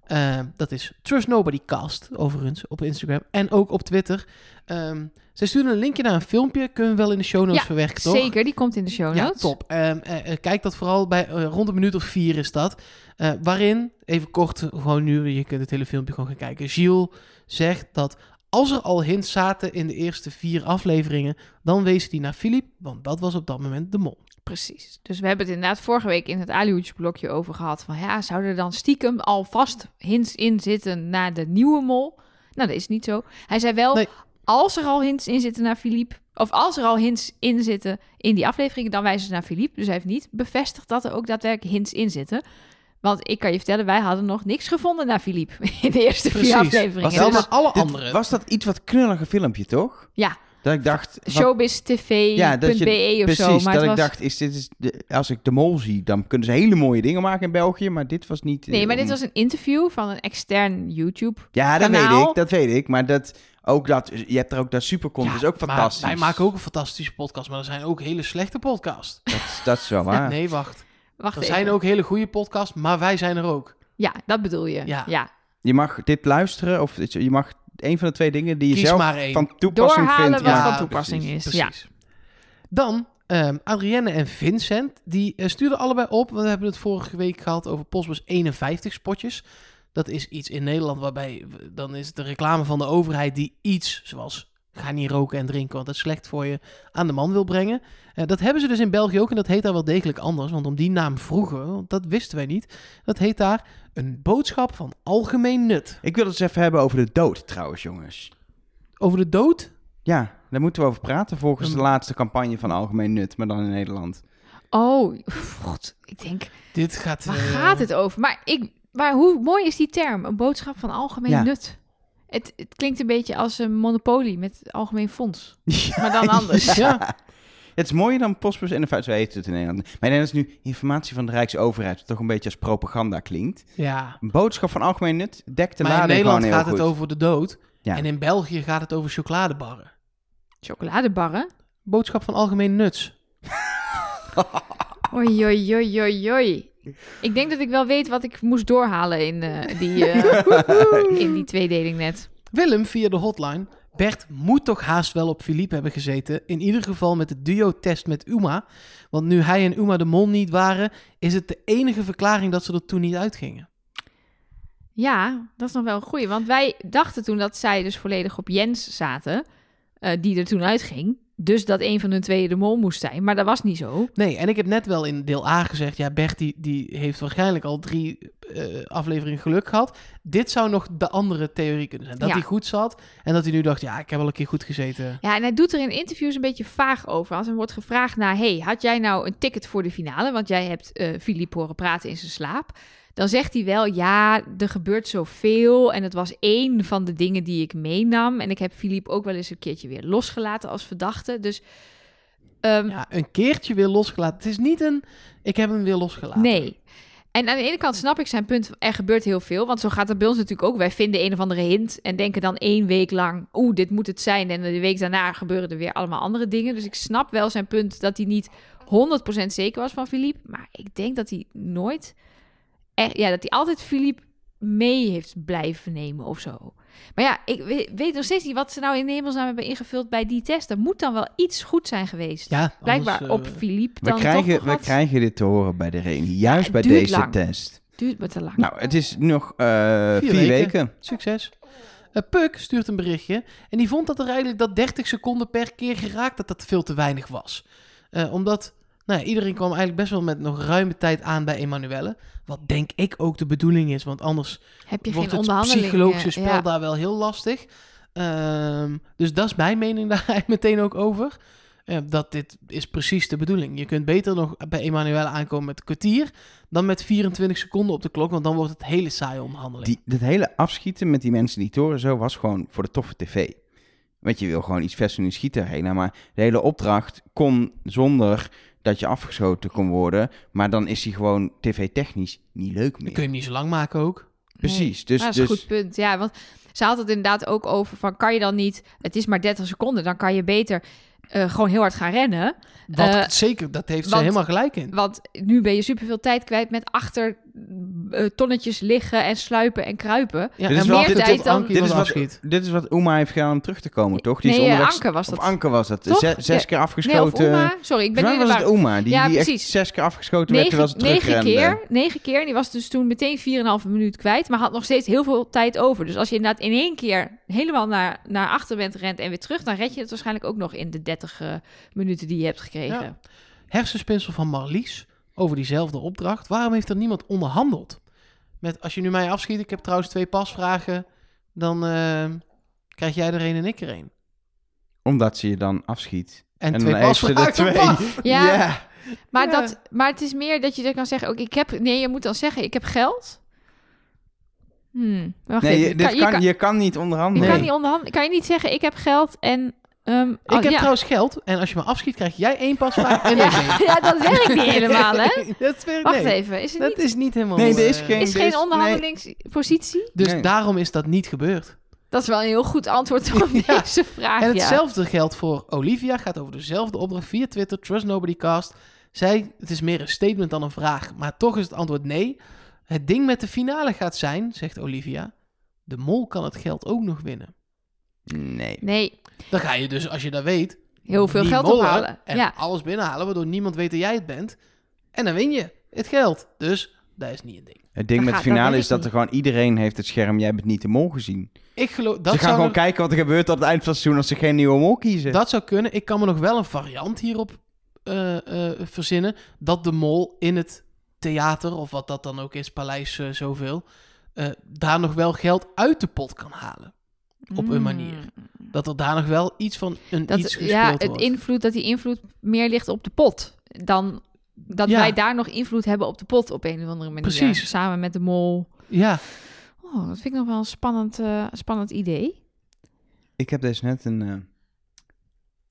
[SPEAKER 3] ehm, dat is Trust Nobody Cast, overigens, op Instagram en ook op Twitter. Ehm zij stuurde een linkje naar een filmpje, kunnen we wel in de show notes
[SPEAKER 2] Ja,
[SPEAKER 3] verwerken, toch?
[SPEAKER 2] Zeker, die komt in de show
[SPEAKER 3] Ja,
[SPEAKER 2] notes.
[SPEAKER 3] top. Ehm, eh, eh, kijk dat vooral bij eh, rond een minuut of vier is dat. Eh, waarin, even kort, gewoon nu, je kunt het hele filmpje gewoon gaan kijken. Gilles zegt dat als er al hints zaten in de eerste vier afleveringen, dan wees die naar Filip, want dat was op dat moment de mol.
[SPEAKER 2] Precies. Dus we hebben het inderdaad vorige week in het Alihoedje blokje over gehad. Van ja, zouden er dan stiekem alvast hints in zitten naar de nieuwe mol? Nou, dat is niet zo. Hij zei wel,
[SPEAKER 3] Nee.
[SPEAKER 2] als er al hints in zitten naar Philippe, of als er al hints in zitten in die afleveringen, dan wijzen ze naar Philippe. Dus hij heeft niet bevestigd dat er ook daadwerkelijk hints in zitten. Want ik kan je vertellen, wij hadden nog niks gevonden naar Philippe (laughs) in de eerste vier
[SPEAKER 3] Was
[SPEAKER 2] afleveringen.
[SPEAKER 3] wel
[SPEAKER 2] Dus
[SPEAKER 3] maar alle
[SPEAKER 1] Dit-
[SPEAKER 3] anderen.
[SPEAKER 1] was dat iets wat knullige filmpje, toch?
[SPEAKER 2] Ja.
[SPEAKER 1] Dat ik dacht...
[SPEAKER 2] Dus
[SPEAKER 1] wat-
[SPEAKER 2] showbiztv.be
[SPEAKER 1] Ja, dat je-
[SPEAKER 2] of
[SPEAKER 1] Precies,
[SPEAKER 2] zo. Maar
[SPEAKER 1] dat
[SPEAKER 2] het
[SPEAKER 1] ik
[SPEAKER 2] was...
[SPEAKER 1] dacht, is dit is de- als ik de mol zie, dan kunnen ze hele mooie dingen maken in België, maar dit was niet... eh,
[SPEAKER 2] Nee, maar dit
[SPEAKER 1] om-
[SPEAKER 2] was een interview van een extern YouTube
[SPEAKER 1] Ja, dat
[SPEAKER 2] kanaal.
[SPEAKER 1] weet ik, dat weet ik. Maar dat, ook dat, je hebt er ook dat supercont,
[SPEAKER 3] Ja,
[SPEAKER 1] is dus ook
[SPEAKER 3] maar
[SPEAKER 1] fantastisch.
[SPEAKER 3] wij maken ook een fantastische podcast, maar er zijn ook hele slechte podcasts.
[SPEAKER 1] Dat, dat is
[SPEAKER 3] (laughs)
[SPEAKER 1] wel waar.
[SPEAKER 3] Nee, wacht.
[SPEAKER 2] Wacht
[SPEAKER 3] Er
[SPEAKER 2] even.
[SPEAKER 3] zijn ook hele goede podcasts, maar wij zijn er ook.
[SPEAKER 2] Ja, dat bedoel je.
[SPEAKER 3] Ja.
[SPEAKER 2] Ja.
[SPEAKER 1] Je mag dit luisteren, of het- je mag een van de twee dingen die je
[SPEAKER 3] Kies
[SPEAKER 1] zelf
[SPEAKER 3] maar één.
[SPEAKER 1] van toepassing
[SPEAKER 2] Doorhalen wat
[SPEAKER 1] vindt. Ja,
[SPEAKER 2] van
[SPEAKER 1] precies.
[SPEAKER 2] toepassing is. Ja.
[SPEAKER 3] Precies. Dan ehm, Adrienne en Vincent, die eh, stuurden allebei op. want We hebben het vorige week gehad over Postbus 51 spotjes. Dat is iets in Nederland waarbij we- dan is het de reclame van de overheid die iets, zoals ga niet roken en drinken, want dat is slecht voor je, aan de man wil brengen. Eh, dat hebben ze dus in België ook en dat heet daar wel degelijk anders, want om die naam vroegen we, want dat wisten wij niet. Dat heet daar een boodschap van algemeen nut.
[SPEAKER 1] Ik wil het eens even hebben over de dood trouwens, jongens.
[SPEAKER 3] Over de dood
[SPEAKER 1] Ja, daar moeten we over praten volgens
[SPEAKER 2] Hm.
[SPEAKER 3] Hmm.
[SPEAKER 1] de laatste campagne van Algemeen Nut, maar dan in Nederland.
[SPEAKER 2] Oh, god. Ik denk,
[SPEAKER 3] Dit gaat.
[SPEAKER 2] waar
[SPEAKER 3] eh,
[SPEAKER 2] gaat het over? Maar, ik, maar hoe mooi is die term? Een boodschap van algemeen
[SPEAKER 1] Ja.
[SPEAKER 2] nut. Het, het klinkt een beetje als een monopolie met het algemeen fonds. Maar
[SPEAKER 3] (laughs)
[SPEAKER 2] dan anders.
[SPEAKER 3] Ja,
[SPEAKER 1] Het is mooier dan Postbus en de Vuist, zo heet het in Nederland. Maar in Nederland is nu informatie van de Rijksoverheid, wat toch een beetje als propaganda klinkt.
[SPEAKER 3] ja.
[SPEAKER 1] Een boodschap van Algemeen Nut dekt de
[SPEAKER 3] maar in
[SPEAKER 1] lading
[SPEAKER 3] Nederland
[SPEAKER 1] gewoon heel
[SPEAKER 3] gaat het
[SPEAKER 1] goed.
[SPEAKER 3] over de dood.
[SPEAKER 1] Ja.
[SPEAKER 3] En in België gaat het over chocoladebarren.
[SPEAKER 2] Chocoladebarren.
[SPEAKER 3] Boodschap van algemeen nuts.
[SPEAKER 2] Oei, oei, oei, oei, oei. Ik denk dat ik wel weet wat ik moest doorhalen in, eh, die, eh, in die tweedeling net.
[SPEAKER 3] Willem via de hotline. Bert moet toch haast wel op Philippe hebben gezeten. In ieder geval met de duo-test met Uma. Want nu hij en Uma de Mol niet waren, is het de enige verklaring dat ze er toen niet uitgingen.
[SPEAKER 2] Ja, dat is nog wel een goeie. Want wij dachten toen dat zij dus volledig op Jens zaten, eh, die er toen uitging. Dus dat een van hun tweeën de mol moest zijn. Maar dat was niet zo.
[SPEAKER 3] Nee, en ik heb net wel in deel A gezegd: ja, Bert die, die heeft waarschijnlijk al drie eh, afleveringen geluk gehad. Dit zou nog de andere theorie kunnen zijn. Dat
[SPEAKER 2] Ja.
[SPEAKER 3] hij goed zat en dat hij nu dacht: ja, ik heb wel een keer goed gezeten.
[SPEAKER 2] Ja, en hij doet er in interviews een beetje vaag over. Als hem wordt gevraagd naar... hey, had jij nou een ticket voor de finale? Want jij hebt eh Filip horen praten in zijn slaap. Dan zegt hij wel, ja, er gebeurt zoveel. En het was één van de dingen die ik meenam. En ik heb Filip ook wel eens een keertje weer losgelaten als verdachte. Dus ehm,
[SPEAKER 3] Ja, een keertje weer losgelaten. Het is niet een, ik heb hem weer losgelaten.
[SPEAKER 2] Nee. En aan de ene kant snap ik zijn punt, er gebeurt heel veel. Want zo gaat het bij ons natuurlijk ook. Wij vinden een of andere hint en denken dan één week lang... oeh, dit moet het zijn. En de week daarna gebeuren er weer allemaal andere dingen. Dus ik snap wel zijn punt dat hij niet 100% zeker was van Philippe. Maar ik denk dat hij nooit... Echt, ja, dat hij altijd Philippe mee heeft blijven nemen of zo. Maar ja, ik we- weet nog steeds niet wat ze nou in de hemelsnaam hebben ingevuld bij die test. Er moet dan wel iets goed zijn geweest.
[SPEAKER 3] Ja, anders,
[SPEAKER 2] Blijkbaar
[SPEAKER 3] eh,
[SPEAKER 2] op Philippe
[SPEAKER 1] We
[SPEAKER 2] dan toch
[SPEAKER 1] krijgen,
[SPEAKER 2] nog
[SPEAKER 1] we
[SPEAKER 2] wat.
[SPEAKER 1] krijgen dit te horen bij de reunie, juist
[SPEAKER 2] het
[SPEAKER 1] bij
[SPEAKER 2] duurt
[SPEAKER 1] deze
[SPEAKER 2] lang.
[SPEAKER 1] test.
[SPEAKER 2] Duurt me te lang.
[SPEAKER 1] Nou, het is nog eh,
[SPEAKER 3] Vier
[SPEAKER 1] vier,
[SPEAKER 3] weken.
[SPEAKER 1] weken.
[SPEAKER 3] Succes. Eh, Puk stuurt een berichtje en die vond dat er eigenlijk dat 30 seconden per keer geraakt dat dat veel te weinig was. Eh, omdat Nou ja, iedereen kwam eigenlijk best wel met nog ruime tijd aan bij Emanuelle. Wat denk ik ook de bedoeling is, want anders
[SPEAKER 2] Heb je
[SPEAKER 3] wordt
[SPEAKER 2] geen
[SPEAKER 3] het
[SPEAKER 2] onderhandeling.
[SPEAKER 3] psychologische
[SPEAKER 2] eh,
[SPEAKER 3] spel
[SPEAKER 2] ja.
[SPEAKER 3] daar wel heel lastig. Ehm, dus dat is mijn mening (laughs) daar eigenlijk meteen ook over. Eh, dat dit is precies de bedoeling. Je kunt beter nog bij Emanuele aankomen met een kwartier... dan met 24 seconden op de klok, want dan wordt het hele saaie onderhandeling.
[SPEAKER 1] Die, dat hele afschieten met die mensen die toren zo was gewoon voor de toffe tv. Want je wil gewoon iets versen en schieten heen. nou, maar de hele opdracht kon zonder dat je afgeschoten kon worden. Maar dan is die gewoon tv-technisch niet leuk
[SPEAKER 3] Dan
[SPEAKER 1] meer.
[SPEAKER 3] kun je hem niet zo lang maken ook.
[SPEAKER 1] Precies. Dus,
[SPEAKER 2] Ja, Nou, dat is
[SPEAKER 1] dus
[SPEAKER 2] een goed punt. Ja, want ze had het inderdaad ook over van kan je dan niet, het is maar 30 seconden, dan kan je beter eh, gewoon heel hard gaan rennen.
[SPEAKER 3] Wat
[SPEAKER 2] Eh,
[SPEAKER 3] zeker, dat heeft ze
[SPEAKER 2] want-
[SPEAKER 3] helemaal gelijk in.
[SPEAKER 2] Want nu ben je superveel tijd kwijt met achter eh, tonnetjes liggen en sluipen en kruipen.
[SPEAKER 3] Ja,
[SPEAKER 1] Dit is
[SPEAKER 3] en
[SPEAKER 1] wel-
[SPEAKER 3] wachten
[SPEAKER 1] dit-
[SPEAKER 3] tot
[SPEAKER 2] dit- dan-
[SPEAKER 3] Ankie
[SPEAKER 1] dit,
[SPEAKER 3] wat
[SPEAKER 1] is wat,
[SPEAKER 3] afschiet.
[SPEAKER 1] dit is wat Uma heeft gedaan om terug te komen, toch? Die
[SPEAKER 2] nee,
[SPEAKER 1] is
[SPEAKER 2] eh,
[SPEAKER 1] onderweg...
[SPEAKER 2] Anke was dat.
[SPEAKER 1] Of Anke was dat.
[SPEAKER 2] Toch?
[SPEAKER 1] Ze- zes
[SPEAKER 2] Ja.
[SPEAKER 1] keer
[SPEAKER 2] nee, of
[SPEAKER 1] afgeschoten.
[SPEAKER 2] Uma. Sorry, ik ben nu
[SPEAKER 1] Volgens mij
[SPEAKER 2] in de
[SPEAKER 1] was het
[SPEAKER 2] war.
[SPEAKER 1] Uma, die,
[SPEAKER 2] Ja,
[SPEAKER 1] die echt
[SPEAKER 2] precies.
[SPEAKER 1] zes keer afgeschoten werd terwijl
[SPEAKER 2] Negen,
[SPEAKER 1] ze
[SPEAKER 2] negen
[SPEAKER 1] terugrende.
[SPEAKER 2] keer, negen keer. En die was dus toen meteen 4,5 minuut kwijt. Maar had nog steeds heel veel tijd over. Dus als je inderdaad in één keer helemaal naar, naar achter bent rent en weer terug... dan red je het waarschijnlijk ook nog in de 30 eh, minuten die je hebt gekregen.
[SPEAKER 3] Ja. hersenspinsel van Marlies over diezelfde opdracht. Waarom heeft er niemand onderhandeld? Met, als je nu mij afschiet, ik heb trouwens twee pasvragen, dan eh, krijg jij er een en ik er een.
[SPEAKER 1] Omdat ze je dan afschiet.
[SPEAKER 3] En,
[SPEAKER 1] En
[SPEAKER 3] twee
[SPEAKER 1] dan heeft
[SPEAKER 2] (laughs)
[SPEAKER 1] ze er
[SPEAKER 3] pasvragen.
[SPEAKER 1] twee.
[SPEAKER 3] pas.
[SPEAKER 2] Ja,
[SPEAKER 1] (laughs) Ja.
[SPEAKER 2] Maar,
[SPEAKER 3] Ja.
[SPEAKER 2] Dat, maar het is meer dat je dan kan zeggen... Ook, ik heb, nee, je moet dan zeggen, ik heb geld. Hmm, wacht
[SPEAKER 1] Nee,
[SPEAKER 2] even.
[SPEAKER 1] je, dit
[SPEAKER 2] kan, je
[SPEAKER 1] kan,
[SPEAKER 2] kan-
[SPEAKER 1] je kan niet
[SPEAKER 2] je
[SPEAKER 1] onderhandelen.
[SPEAKER 2] kan niet onderhandelen. Kan je niet zeggen, ik heb geld en... ehm,
[SPEAKER 3] Ik
[SPEAKER 2] oh,
[SPEAKER 3] heb
[SPEAKER 2] ja.
[SPEAKER 3] trouwens geld en als je me afschiet, krijg jij één pasvraag en ik
[SPEAKER 2] (laughs) ja,
[SPEAKER 3] één.
[SPEAKER 2] ja, (laughs) dat werkt niet
[SPEAKER 3] (laughs)
[SPEAKER 2] helemaal, hè?
[SPEAKER 3] Dat, weer,
[SPEAKER 2] Wacht
[SPEAKER 3] nee,
[SPEAKER 2] even, is het
[SPEAKER 3] dat
[SPEAKER 2] niet...
[SPEAKER 3] is niet helemaal...
[SPEAKER 1] Nee, er is
[SPEAKER 3] eh,
[SPEAKER 1] geen-
[SPEAKER 2] Is
[SPEAKER 1] dit
[SPEAKER 2] geen
[SPEAKER 1] is- nee.
[SPEAKER 2] onderhandelingspositie?
[SPEAKER 3] Dus
[SPEAKER 1] Nee.
[SPEAKER 3] daarom is dat niet gebeurd.
[SPEAKER 2] Dat is wel een heel goed antwoord op
[SPEAKER 3] (laughs) Ja.
[SPEAKER 2] deze vraag.
[SPEAKER 3] En
[SPEAKER 2] ja.
[SPEAKER 3] hetzelfde geldt voor Olivia. Gaat over dezelfde opdracht via Twitter. Trust Nobody Cast. Zij, het is meer een statement dan een vraag. Maar toch is het antwoord nee. Het ding met de finale gaat zijn, zegt Olivia. De mol kan het geld ook nog winnen.
[SPEAKER 1] Nee.
[SPEAKER 2] Nee,
[SPEAKER 3] Dan ga je dus, als je dat weet,
[SPEAKER 2] heel veel
[SPEAKER 3] die
[SPEAKER 2] geld
[SPEAKER 3] mollen
[SPEAKER 2] ophalen.
[SPEAKER 3] En
[SPEAKER 2] Ja.
[SPEAKER 3] alles binnenhalen, waardoor niemand weet dat jij het bent. En dan win je het geld. Dus dat is niet een ding.
[SPEAKER 1] Het ding
[SPEAKER 2] Dat
[SPEAKER 1] met de
[SPEAKER 2] gaat-
[SPEAKER 1] finale
[SPEAKER 2] dat
[SPEAKER 1] is dat
[SPEAKER 2] werkt
[SPEAKER 1] er gewoon iedereen heeft het scherm. Jij bent niet de mol gezien.
[SPEAKER 3] Ik geloof, dat
[SPEAKER 1] ze gaan
[SPEAKER 3] zou
[SPEAKER 1] gewoon
[SPEAKER 3] nog-
[SPEAKER 1] kijken wat er gebeurt tot het eind van het seizoen als ze geen nieuwe mol kiezen.
[SPEAKER 3] Dat zou kunnen. Ik kan me nog wel een variant hierop eh, eh, verzinnen. Dat de mol in het theater, of wat dat dan ook is, paleis eh, zoveel, eh, daar nog wel geld uit de pot kan halen. op een manier. Dat er daar nog wel iets van een
[SPEAKER 2] Mm. Dat,
[SPEAKER 3] iets gespeeld
[SPEAKER 2] ja, het
[SPEAKER 3] wordt.
[SPEAKER 2] invloed, dat die invloed meer ligt op de pot dan dat
[SPEAKER 3] Ja.
[SPEAKER 2] wij daar nog invloed hebben op de pot op een of andere manier.
[SPEAKER 3] Precies.
[SPEAKER 2] Samen met de mol.
[SPEAKER 3] Ja,
[SPEAKER 2] Oh, dat vind ik nog wel een spannend, eh, spannend idee.
[SPEAKER 1] Ik heb dus net een, eh,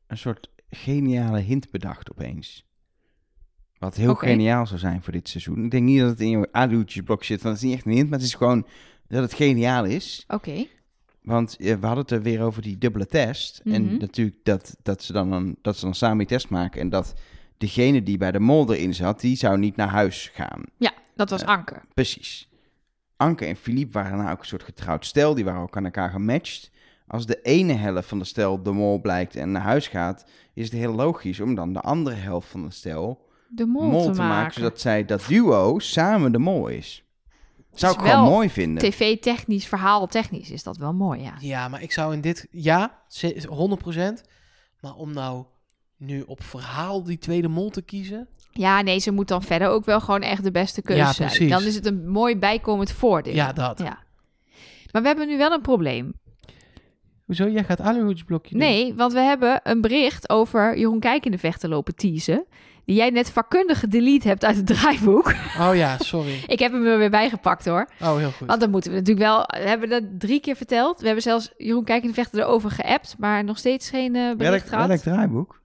[SPEAKER 1] een soort geniale hint bedacht opeens. Wat heel
[SPEAKER 2] Oké.
[SPEAKER 1] geniaal zou zijn voor dit seizoen. Ik denk niet dat het in je adoeltjesblok zit, want het is niet echt een hint, maar het is gewoon dat het geniaal is.
[SPEAKER 2] Oké.
[SPEAKER 1] Want eh, we hadden het er weer over die dubbele test.
[SPEAKER 2] Mhm.
[SPEAKER 1] En natuurlijk dat, dat, ze dan een, dat ze dan samen die test maken. En dat degene die bij de mol erin zat, die zou niet naar huis gaan.
[SPEAKER 2] Ja, dat was Anker.
[SPEAKER 1] Precies. Anke en Philippe waren nou ook een soort getrouwd stel. Die waren ook aan elkaar gematcht. Als de ene helft van de stel de mol blijkt en naar huis gaat, is het heel logisch om dan de andere helft van de stel
[SPEAKER 2] De
[SPEAKER 1] mol,
[SPEAKER 2] mol,
[SPEAKER 1] te maken.
[SPEAKER 2] Zodat...
[SPEAKER 1] Zodat zij, dat duo, samen de mol is. Zou
[SPEAKER 2] Is
[SPEAKER 1] ik gewoon
[SPEAKER 2] wel
[SPEAKER 1] mooi vinden.
[SPEAKER 2] TV-technisch, verhaal-technisch is dat wel mooi, ja.
[SPEAKER 3] ja, maar ik zou in dit... Ja, ze- 100%. Maar om nou nu op verhaal die tweede mol te kiezen...
[SPEAKER 2] Ja, nee, ze moet dan verder ook wel gewoon echt de beste keuze
[SPEAKER 3] Ja,
[SPEAKER 2] zijn.
[SPEAKER 3] precies.
[SPEAKER 2] Dan is het een mooi bijkomend voordeel.
[SPEAKER 3] Ja, dat.
[SPEAKER 2] Ja. Maar we hebben nu wel een probleem.
[SPEAKER 3] Hoezo? Jij gaat aluhoedsblokje doen?
[SPEAKER 2] Nee, want we hebben een bericht over Jeroen Kijk in de vechten lopen teasen. Die jij net vakkundig gedelete hebt uit het draaiboek. (laughs)
[SPEAKER 3] Oh ja, sorry.
[SPEAKER 2] Ik heb hem er weer bijgepakt hoor.
[SPEAKER 3] Oh, heel goed.
[SPEAKER 2] Want dat moeten we natuurlijk wel. We hebben dat drie keer verteld. We hebben zelfs Jeroen Kijk in de vechten erover geappt. Maar nog steeds geen eh,
[SPEAKER 1] Welk,
[SPEAKER 2] bericht gehad.
[SPEAKER 1] welk draaiboek?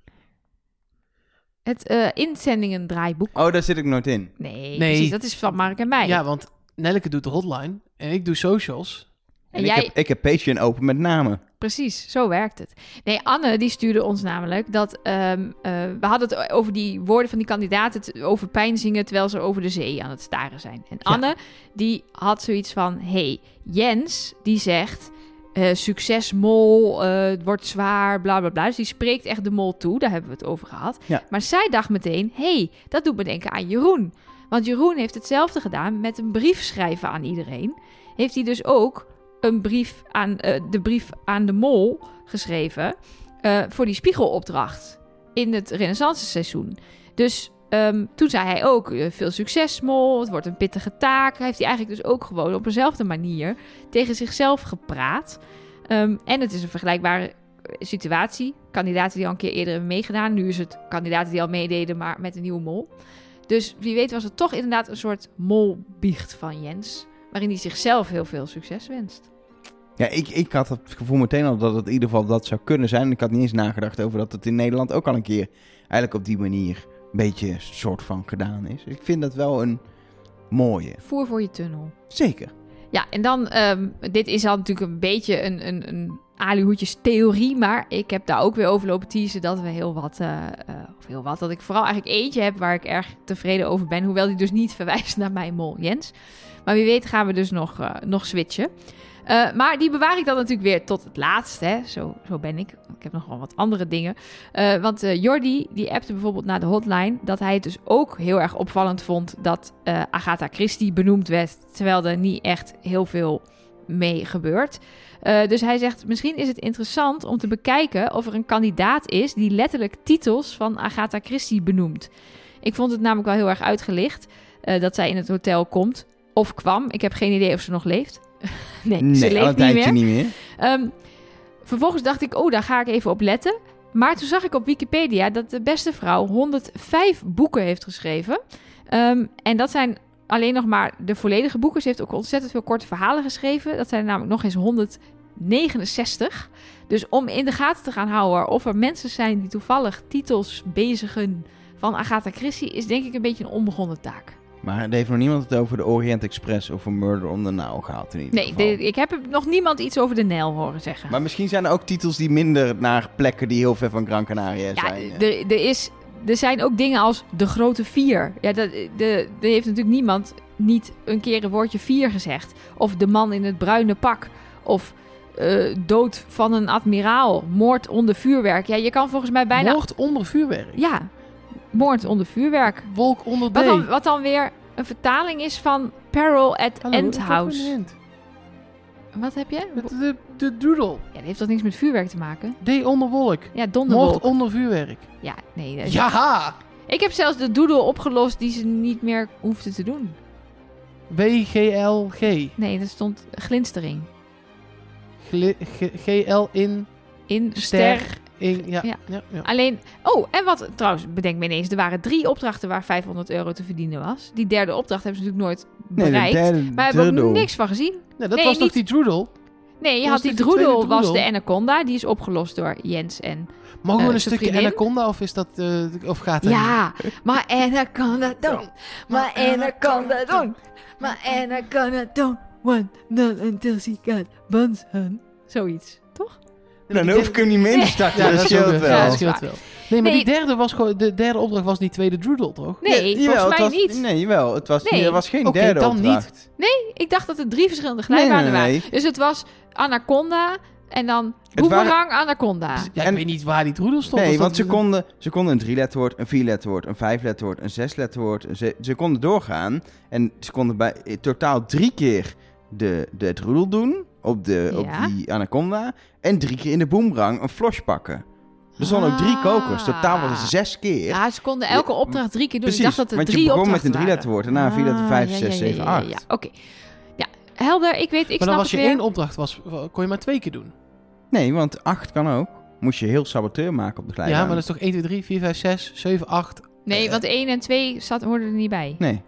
[SPEAKER 2] Het eh, inzendingen draaiboek.
[SPEAKER 1] Oh, daar zit ik nooit in.
[SPEAKER 2] Nee,
[SPEAKER 3] Nee.
[SPEAKER 2] precies. Dat is van Mark en mij.
[SPEAKER 3] Ja, want Nelke doet de hotline en ik doe socials.
[SPEAKER 2] en
[SPEAKER 1] ik,
[SPEAKER 2] jij,
[SPEAKER 1] heb, ik heb Patreon open met namen.
[SPEAKER 2] Precies, zo werkt het. Nee, Anne die stuurde ons namelijk dat ehm, eh, we hadden het over die woorden van die kandidaten t- over pijn zingen terwijl ze over de zee aan het staren zijn. En Anne die had zoiets van: hey, Jens die zegt eh, succes mol, eh, het wordt zwaar, bla bla bla. Dus die spreekt echt de mol toe, daar hebben we het over gehad.
[SPEAKER 1] Ja.
[SPEAKER 2] Maar zij dacht meteen: hey, dat doet me denken aan Jeroen. Want Jeroen heeft hetzelfde gedaan met een brief schrijven aan iedereen. Heeft hij dus ook een brief aan, eh, de brief aan de mol geschreven eh, voor die spiegelopdracht in het renaissance seizoen. Dus Ehm, toen zei hij ook, eh, veel succes Mol, het wordt een pittige taak. Heeft hij eigenlijk dus ook gewoon op dezelfde manier tegen zichzelf gepraat. Ehm, en het is een vergelijkbare eh, situatie. Kandidaten die al een keer eerder hebben meegedaan. Nu is het kandidaten die al meededen, maar met een nieuwe mol. Dus wie weet was het toch inderdaad een soort molbiecht van Jens. Waarin hij zichzelf heel veel succes wenst.
[SPEAKER 1] Ja, ik, ik had het gevoel meteen al dat het in ieder geval dat zou kunnen zijn. Ik had niet eens nagedacht over dat het in Nederland ook al een keer eigenlijk op die manier een beetje soort van gedaan is. Ik vind dat wel een mooie.
[SPEAKER 2] Voer voor je tunnel.
[SPEAKER 1] Zeker.
[SPEAKER 2] Ja, en dan, ehm, dit is al natuurlijk een beetje een, een, een alihoedjes theorie, maar ik heb daar ook weer over lopen teasen dat we heel wat, eh, eh, of heel wat, dat ik vooral eigenlijk eentje heb waar ik erg tevreden over ben, hoewel die dus niet (laughs) verwijst naar mijn mol Jens. Maar wie weet gaan we dus nog, eh, nog switchen. Eh, maar die bewaar ik dan natuurlijk weer tot het laatst. Hè. Zo, zo ben ik. Ik heb nog wel wat andere dingen. Eh, want eh, Jordi, die appte bijvoorbeeld naar de hotline... dat hij het dus ook heel erg opvallend vond... dat eh, Agatha Christie benoemd werd... terwijl er niet echt heel veel mee gebeurt. Eh, dus hij zegt, misschien is het interessant om te bekijken... of er een kandidaat is die letterlijk titels van Agatha Christie benoemt. Ik vond het namelijk wel heel erg uitgelicht... eh, dat zij in het hotel komt of kwam. Ik heb geen idee of ze nog leeft. (laughs) nee, ze
[SPEAKER 1] al een
[SPEAKER 2] leeft niet
[SPEAKER 1] tijdje
[SPEAKER 2] meer.
[SPEAKER 1] niet meer.
[SPEAKER 2] Ehm, vervolgens dacht ik, oh, daar ga ik even op letten. Maar toen zag ik op Wikipedia dat de beste vrouw 105 boeken heeft geschreven. Ehm, en dat zijn alleen nog maar de volledige boeken. Ze heeft ook ontzettend veel korte verhalen geschreven. Dat zijn er namelijk nog eens 169. Dus om in de gaten te gaan houden of er mensen zijn die toevallig titels bezigen van Agatha Christie, is denk ik een beetje een onbegonnen taak.
[SPEAKER 1] Maar er heeft nog niemand het over de Orient Express of een Murder on the Nile gehad in ieder
[SPEAKER 2] Nee,
[SPEAKER 1] geval.
[SPEAKER 2] de- ik heb nog niemand iets over de Nijl horen zeggen.
[SPEAKER 1] Maar misschien zijn er ook titels die minder naar plekken die heel ver van Gran Canaria
[SPEAKER 2] Ja,
[SPEAKER 1] zijn. eh.
[SPEAKER 2] er, er, is, er zijn ook dingen als de grote vier. Ja, dat, de, er heeft natuurlijk niemand niet een keer een woordje vier gezegd. Of de man in het bruine pak. Of eh, dood van een admiraal. Moord onder vuurwerk. Ja, je kan volgens mij bijna...
[SPEAKER 3] Moord onder vuurwerk.
[SPEAKER 2] Ja, moord onder vuurwerk.
[SPEAKER 3] Wolk onder
[SPEAKER 2] Wat dan,
[SPEAKER 3] D.
[SPEAKER 2] wat dan weer een vertaling is van Peril at
[SPEAKER 3] Hallo,
[SPEAKER 2] End
[SPEAKER 3] dat gaat weer
[SPEAKER 2] House.
[SPEAKER 3] niet.
[SPEAKER 2] Wat heb je?
[SPEAKER 3] Met de, de doodle.
[SPEAKER 2] Ja, dat heeft toch niks met vuurwerk te maken?
[SPEAKER 3] D onder wolk.
[SPEAKER 2] Ja,
[SPEAKER 3] Moord
[SPEAKER 2] donderwolk.
[SPEAKER 3] onder vuurwerk.
[SPEAKER 2] Ja, nee. dat-
[SPEAKER 3] Ja!
[SPEAKER 2] Ik heb zelfs de doodle opgelost die ze niet meer hoefde te doen.
[SPEAKER 3] WGLG.
[SPEAKER 2] Nee, er stond glinstering.
[SPEAKER 3] Gli- G- GL in.
[SPEAKER 2] In ster.
[SPEAKER 3] Ster. in ja,
[SPEAKER 2] Ja.
[SPEAKER 3] ja. Ja,
[SPEAKER 2] Alleen, oh, en wat trouwens, bedenk me ineens, er waren drie opdrachten waar 500 euro te verdienen was. Die derde opdracht hebben ze natuurlijk nooit
[SPEAKER 1] Nee, de
[SPEAKER 2] bereikt.
[SPEAKER 1] derde-
[SPEAKER 2] maar we hebben er
[SPEAKER 1] derde-
[SPEAKER 2] niks van gezien.
[SPEAKER 3] Nee, dat
[SPEAKER 2] Nee,
[SPEAKER 3] was toch
[SPEAKER 2] niet-
[SPEAKER 3] die Droodle?
[SPEAKER 2] Nee, je
[SPEAKER 3] Was
[SPEAKER 2] had die
[SPEAKER 3] dit die tweede
[SPEAKER 2] droedel, was de
[SPEAKER 3] droedel?
[SPEAKER 2] anaconda, die is opgelost door Jens en...
[SPEAKER 3] Mogen
[SPEAKER 2] Eh,
[SPEAKER 3] we een
[SPEAKER 2] zijn
[SPEAKER 3] stukje
[SPEAKER 2] vriendin?
[SPEAKER 3] Anaconda of is dat. eh, of gaat dat? niet?
[SPEAKER 2] Ja, maar anaconda don't, maar anaconda don't, maar anaconda don't want none until she got buns hun. Zoiets, toch?
[SPEAKER 3] Nee,
[SPEAKER 1] Dan
[SPEAKER 3] die
[SPEAKER 1] hoef ik
[SPEAKER 3] derde-
[SPEAKER 1] hem niet meer in te starten.
[SPEAKER 3] Ja,
[SPEAKER 1] dat
[SPEAKER 3] dat scheelt
[SPEAKER 1] scheelt
[SPEAKER 3] wel.
[SPEAKER 1] wel.
[SPEAKER 3] Ja,
[SPEAKER 2] dat
[SPEAKER 3] dat
[SPEAKER 2] is
[SPEAKER 3] scheelt
[SPEAKER 2] waar.
[SPEAKER 3] wel. Nee, maar
[SPEAKER 2] Nee.
[SPEAKER 3] die derde was gewoon. De derde opdracht was die tweede Droodle, toch?
[SPEAKER 2] Nee,
[SPEAKER 1] Ja, jawel,
[SPEAKER 2] volgens mij
[SPEAKER 1] het was,
[SPEAKER 2] niet.
[SPEAKER 1] Nee, wel. Het was,
[SPEAKER 2] Nee.
[SPEAKER 1] er was geen
[SPEAKER 3] Oké,
[SPEAKER 1] derde
[SPEAKER 3] dan
[SPEAKER 1] opdracht.
[SPEAKER 2] Ik dacht dat er drie verschillende glijbanen
[SPEAKER 1] Nee, nee, nee,
[SPEAKER 2] waren. Dus het was Anaconda en dan
[SPEAKER 1] waren-
[SPEAKER 2] Boomerang Anaconda.
[SPEAKER 3] Ja, ik
[SPEAKER 1] En-
[SPEAKER 3] weet niet waar die Droodle stond.
[SPEAKER 1] Nee,
[SPEAKER 3] of
[SPEAKER 1] want ze
[SPEAKER 3] dat-
[SPEAKER 1] konden, ze konden een drieletterwoord, een vierletterwoord, een vijfletterwoord, een zesletterwoord. Ze, ze konden doorgaan en ze konden bij in totaal drie keer de, de het roedel doen op, de,
[SPEAKER 2] Ja.
[SPEAKER 1] op die anaconda. En drie keer in de boemerang een flosh pakken. Er stonden ook drie
[SPEAKER 2] Ah.
[SPEAKER 1] kokers, totaal was het zes keer.
[SPEAKER 2] Ja, ze konden elke
[SPEAKER 1] Ja,
[SPEAKER 2] opdracht drie keer doen.
[SPEAKER 1] Precies,
[SPEAKER 2] ik dacht dat er
[SPEAKER 1] want
[SPEAKER 2] drie
[SPEAKER 1] je begon met
[SPEAKER 2] opdrachten
[SPEAKER 1] een drieletterwoord, daarna een
[SPEAKER 2] waren.
[SPEAKER 1] vierletter, vijf,
[SPEAKER 2] Ah, ja,
[SPEAKER 1] zes,
[SPEAKER 2] ja,
[SPEAKER 1] zeven,
[SPEAKER 2] ja, ja,
[SPEAKER 1] acht.
[SPEAKER 2] ja. Oké. Ja, helder. Ik weet, ik
[SPEAKER 3] Maar
[SPEAKER 2] snap
[SPEAKER 3] dan was je
[SPEAKER 2] het weer.
[SPEAKER 3] één opdracht, was, kon je maar twee keer doen.
[SPEAKER 1] Nee, want acht kan ook. Moest je heel saboteur maken op de
[SPEAKER 3] Ja,
[SPEAKER 1] glijbaan.
[SPEAKER 3] maar dat is toch 1, 2, 3, 4, 5, 6, 7, 8.
[SPEAKER 2] Nee, want één en twee zat, hoorden er niet bij.
[SPEAKER 1] Nee,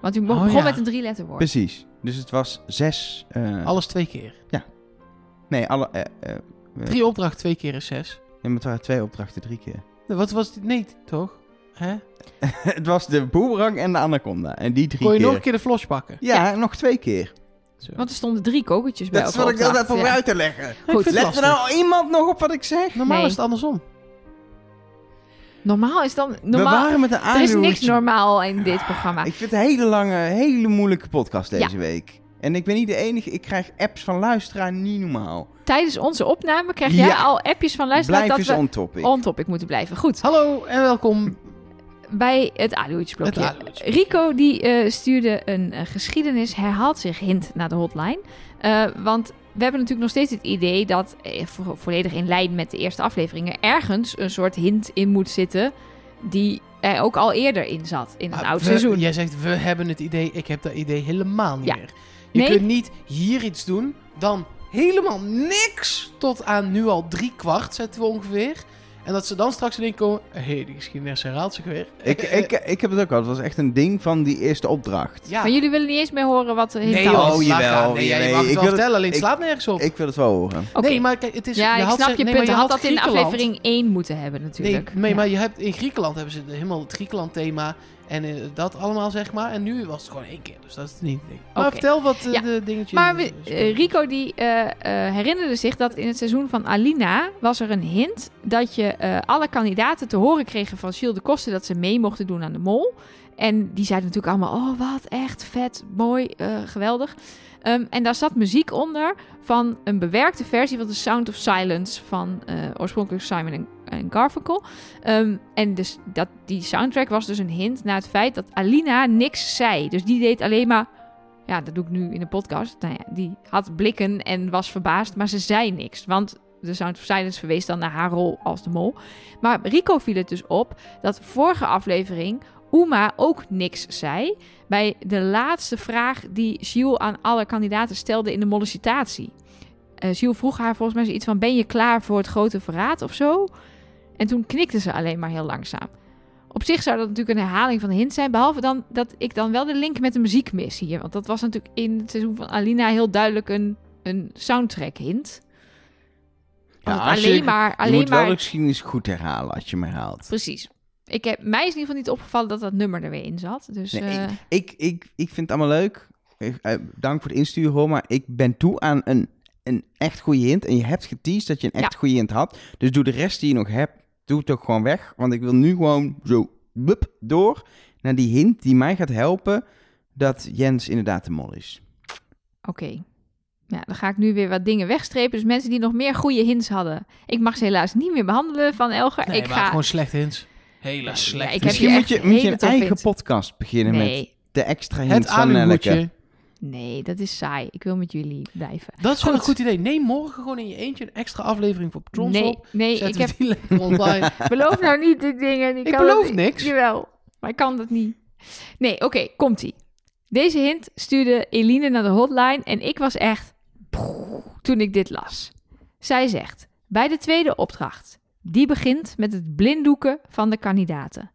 [SPEAKER 2] Want u
[SPEAKER 3] Oh,
[SPEAKER 2] begon
[SPEAKER 3] ja.
[SPEAKER 2] met een drieletterwoord.
[SPEAKER 1] precies. Dus het was zes... eh,
[SPEAKER 3] Alles twee keer.
[SPEAKER 1] nee, alle... eh, eh,
[SPEAKER 3] Drie opdrachten, twee keer is zes.
[SPEAKER 1] ja, maar het waren twee opdrachten, drie keer. (laughs)
[SPEAKER 3] Nee, Wat was dit? Nee, toch? Hè?
[SPEAKER 1] Het was de boemerang en de anaconda. En die drie
[SPEAKER 3] Kon je
[SPEAKER 1] keer.
[SPEAKER 3] nog een keer de flos pakken?
[SPEAKER 1] Ja, nog twee keer.
[SPEAKER 3] Zo.
[SPEAKER 2] Want er stonden drie kokertjes bij elke opdracht, ja.
[SPEAKER 1] te leggen.
[SPEAKER 3] Ja, ik
[SPEAKER 2] Goed,
[SPEAKER 3] vind het
[SPEAKER 1] Let er
[SPEAKER 3] lastig.
[SPEAKER 1] nou iemand nog op wat ik zeg?
[SPEAKER 3] Normaal
[SPEAKER 2] Nee.
[SPEAKER 3] is het andersom.
[SPEAKER 2] Normaal is dan...
[SPEAKER 1] We
[SPEAKER 2] Normaal,
[SPEAKER 1] waren met een
[SPEAKER 2] er is niks
[SPEAKER 1] aanroertje-
[SPEAKER 2] normaal in dit programma.
[SPEAKER 1] Ik vind het een hele lange, hele moeilijke podcast deze
[SPEAKER 2] Ja.
[SPEAKER 1] week. En ik ben niet de enige. Ik krijg apps van luisteraar niet normaal.
[SPEAKER 2] Tijdens onze opname krijg jij
[SPEAKER 1] Ja.
[SPEAKER 2] al appjes van luisteraars
[SPEAKER 1] Blijf eens
[SPEAKER 2] dat we
[SPEAKER 1] on topic.
[SPEAKER 2] on topic moeten blijven. Goed,
[SPEAKER 3] Hallo en welkom.
[SPEAKER 2] bij het Aluhoedjesblokje.
[SPEAKER 3] Het Aluhoedjesblokje.
[SPEAKER 2] Rico die eh, stuurde een eh, geschiedenis herhaalt zich hint naar de hotline. Eh, want we hebben natuurlijk nog steeds het idee dat, eh, vo- volledig in lijn met de eerste afleveringen, ergens een soort hint in moet zitten die hij ook al eerder in zat, in een
[SPEAKER 3] Maar
[SPEAKER 2] oud
[SPEAKER 3] Ah, we-
[SPEAKER 2] seizoen.
[SPEAKER 3] Jij zegt, we hebben het idee. Ik heb dat idee helemaal niet
[SPEAKER 2] Ja.
[SPEAKER 3] meer. Je
[SPEAKER 2] Nee.
[SPEAKER 3] kunt niet hier iets doen, dan helemaal niks tot aan nu al drie kwart zetten we ongeveer. En dat ze dan straks in één keer komen, hé, hey, die geschiedenis herhaalt zich weer.
[SPEAKER 1] Ik, ik, ik heb het ook al. Het was echt een ding van die eerste opdracht.
[SPEAKER 3] ja.
[SPEAKER 2] Maar jullie willen niet eens meer horen wat er
[SPEAKER 3] Nee,
[SPEAKER 2] hintaal
[SPEAKER 3] joh,
[SPEAKER 2] was.
[SPEAKER 1] Oh,
[SPEAKER 3] laat
[SPEAKER 1] jawel,
[SPEAKER 3] gaan. Nee, ja, je
[SPEAKER 1] jawel.
[SPEAKER 3] mag het
[SPEAKER 1] Ik
[SPEAKER 3] wel
[SPEAKER 1] wil het-
[SPEAKER 3] vertellen, alleen
[SPEAKER 1] ik-
[SPEAKER 3] slaat nergens op.
[SPEAKER 1] Ik wil het wel horen.
[SPEAKER 2] Oké.
[SPEAKER 3] Nee, maar kijk, het is...
[SPEAKER 2] ja,
[SPEAKER 3] je
[SPEAKER 2] ik
[SPEAKER 3] had
[SPEAKER 2] snap
[SPEAKER 3] ze-
[SPEAKER 2] je
[SPEAKER 3] nee, maar
[SPEAKER 2] punt. Je had dat in
[SPEAKER 3] Griekenland.
[SPEAKER 2] aflevering 1 moeten hebben
[SPEAKER 3] Nee,
[SPEAKER 2] natuurlijk.
[SPEAKER 3] nee
[SPEAKER 2] Ja.
[SPEAKER 3] maar je hebt, in Griekenland hebben ze de- helemaal het Griekenland thema en eh, dat allemaal, zeg maar. En nu was het gewoon één keer, dus dat is het niet. Maar
[SPEAKER 2] Oké.
[SPEAKER 3] vertel wat eh,
[SPEAKER 2] Ja,
[SPEAKER 3] de dingetjes...
[SPEAKER 2] Maar we- eh, Rico die eh, eh, herinnerde zich dat in het seizoen van Alina was er een hint dat je eh, alle kandidaten te horen kregen van Gilles de Koster dat ze mee mochten doen aan de mol. En die zeiden natuurlijk allemaal, oh wat echt vet, mooi, eh, geweldig. Ehm, en daar zat muziek onder van een bewerkte versie van The Sound of Silence van eh, oorspronkelijk Simon en- en Garfunkel. Ehm, en dus dat, die soundtrack was dus een hint naar het feit dat Alina niks zei. Dus die deed alleen maar ja, dat doe ik nu in de podcast. Nou ja, die had blikken en was verbaasd, maar ze zei niks. Want de Sound of Silence verwees dan naar haar rol als de mol. Maar Rico viel het dus op dat vorige aflevering Uma ook niks zei. Bij de laatste vraag die Gilles aan alle kandidaten stelde in de mollicitatie. Eh Gilles vroeg haar volgens mij zoiets van: Ben je klaar voor het grote verraad of zo? En toen knikte ze alleen maar heel langzaam. Op zich zou dat natuurlijk een herhaling van de hint zijn. Behalve dan dat ik dan wel de link met de muziek mis hier. Want dat was natuurlijk in het seizoen van Alina heel duidelijk een, een soundtrack hint.
[SPEAKER 1] Ja,
[SPEAKER 2] Want
[SPEAKER 1] als je-
[SPEAKER 2] alleen maar,
[SPEAKER 1] je
[SPEAKER 2] alleen
[SPEAKER 1] moet wel
[SPEAKER 2] maar
[SPEAKER 1] de geschiedenis goed herhalen als je me haalt.
[SPEAKER 2] Precies. Ik heb, mij is in ieder geval niet opgevallen dat dat nummer er weer in zat. Dus
[SPEAKER 1] Nee,
[SPEAKER 2] eh,
[SPEAKER 1] Ik, ik, ik vind het allemaal leuk. Ik, eh, dank voor het insturen, hoor. Maar ik ben toe aan een, een echt goede hint. En je hebt geteased dat je een echt goede hint had. Dus doe de rest die je nog hebt, doe het ook gewoon weg. Want ik wil nu gewoon zo bup, door naar die hint die mij gaat helpen dat Jens inderdaad de mol is.
[SPEAKER 2] oké. Ja, dan ga ik nu weer wat dingen wegstrepen. Dus mensen die nog meer goede hints hadden. Ik mag ze helaas niet meer behandelen van Elger.
[SPEAKER 3] Nee,
[SPEAKER 2] ik
[SPEAKER 3] maar
[SPEAKER 2] ga...
[SPEAKER 3] gewoon slecht hints.
[SPEAKER 2] Ja,
[SPEAKER 3] Hele
[SPEAKER 2] ik
[SPEAKER 3] slecht.
[SPEAKER 2] heb
[SPEAKER 1] Misschien
[SPEAKER 2] je
[SPEAKER 1] moet je,
[SPEAKER 2] echt
[SPEAKER 1] moet je
[SPEAKER 2] hele
[SPEAKER 1] een
[SPEAKER 2] toffe
[SPEAKER 1] eigen
[SPEAKER 2] hint.
[SPEAKER 1] podcast beginnen met
[SPEAKER 2] Nee,
[SPEAKER 1] de extra hint
[SPEAKER 3] Het
[SPEAKER 1] van Nelleke.
[SPEAKER 3] aluhoedje.
[SPEAKER 2] nee, dat is saai. Ik wil met jullie blijven.
[SPEAKER 3] Dat is gewoon een
[SPEAKER 2] Goed.
[SPEAKER 3] goed idee. Neem morgen gewoon in je eentje een extra aflevering voor Patrons
[SPEAKER 2] nee,
[SPEAKER 3] op.
[SPEAKER 2] nee
[SPEAKER 3] Zet
[SPEAKER 2] ik
[SPEAKER 3] hem
[SPEAKER 2] heb...
[SPEAKER 3] die lekker
[SPEAKER 2] (laughs)
[SPEAKER 3] online.
[SPEAKER 2] beloof nou niet die dingen.
[SPEAKER 3] Ik
[SPEAKER 2] kan
[SPEAKER 3] beloof
[SPEAKER 2] het-
[SPEAKER 3] niks.
[SPEAKER 2] Jawel, maar ik kan dat niet. Nee, oké, komt-ie. Deze hint stuurde Eline naar de hotline en ik was echt... toen ik dit las. Zij zegt, bij de tweede opdracht... die begint met het blinddoeken van de kandidaten.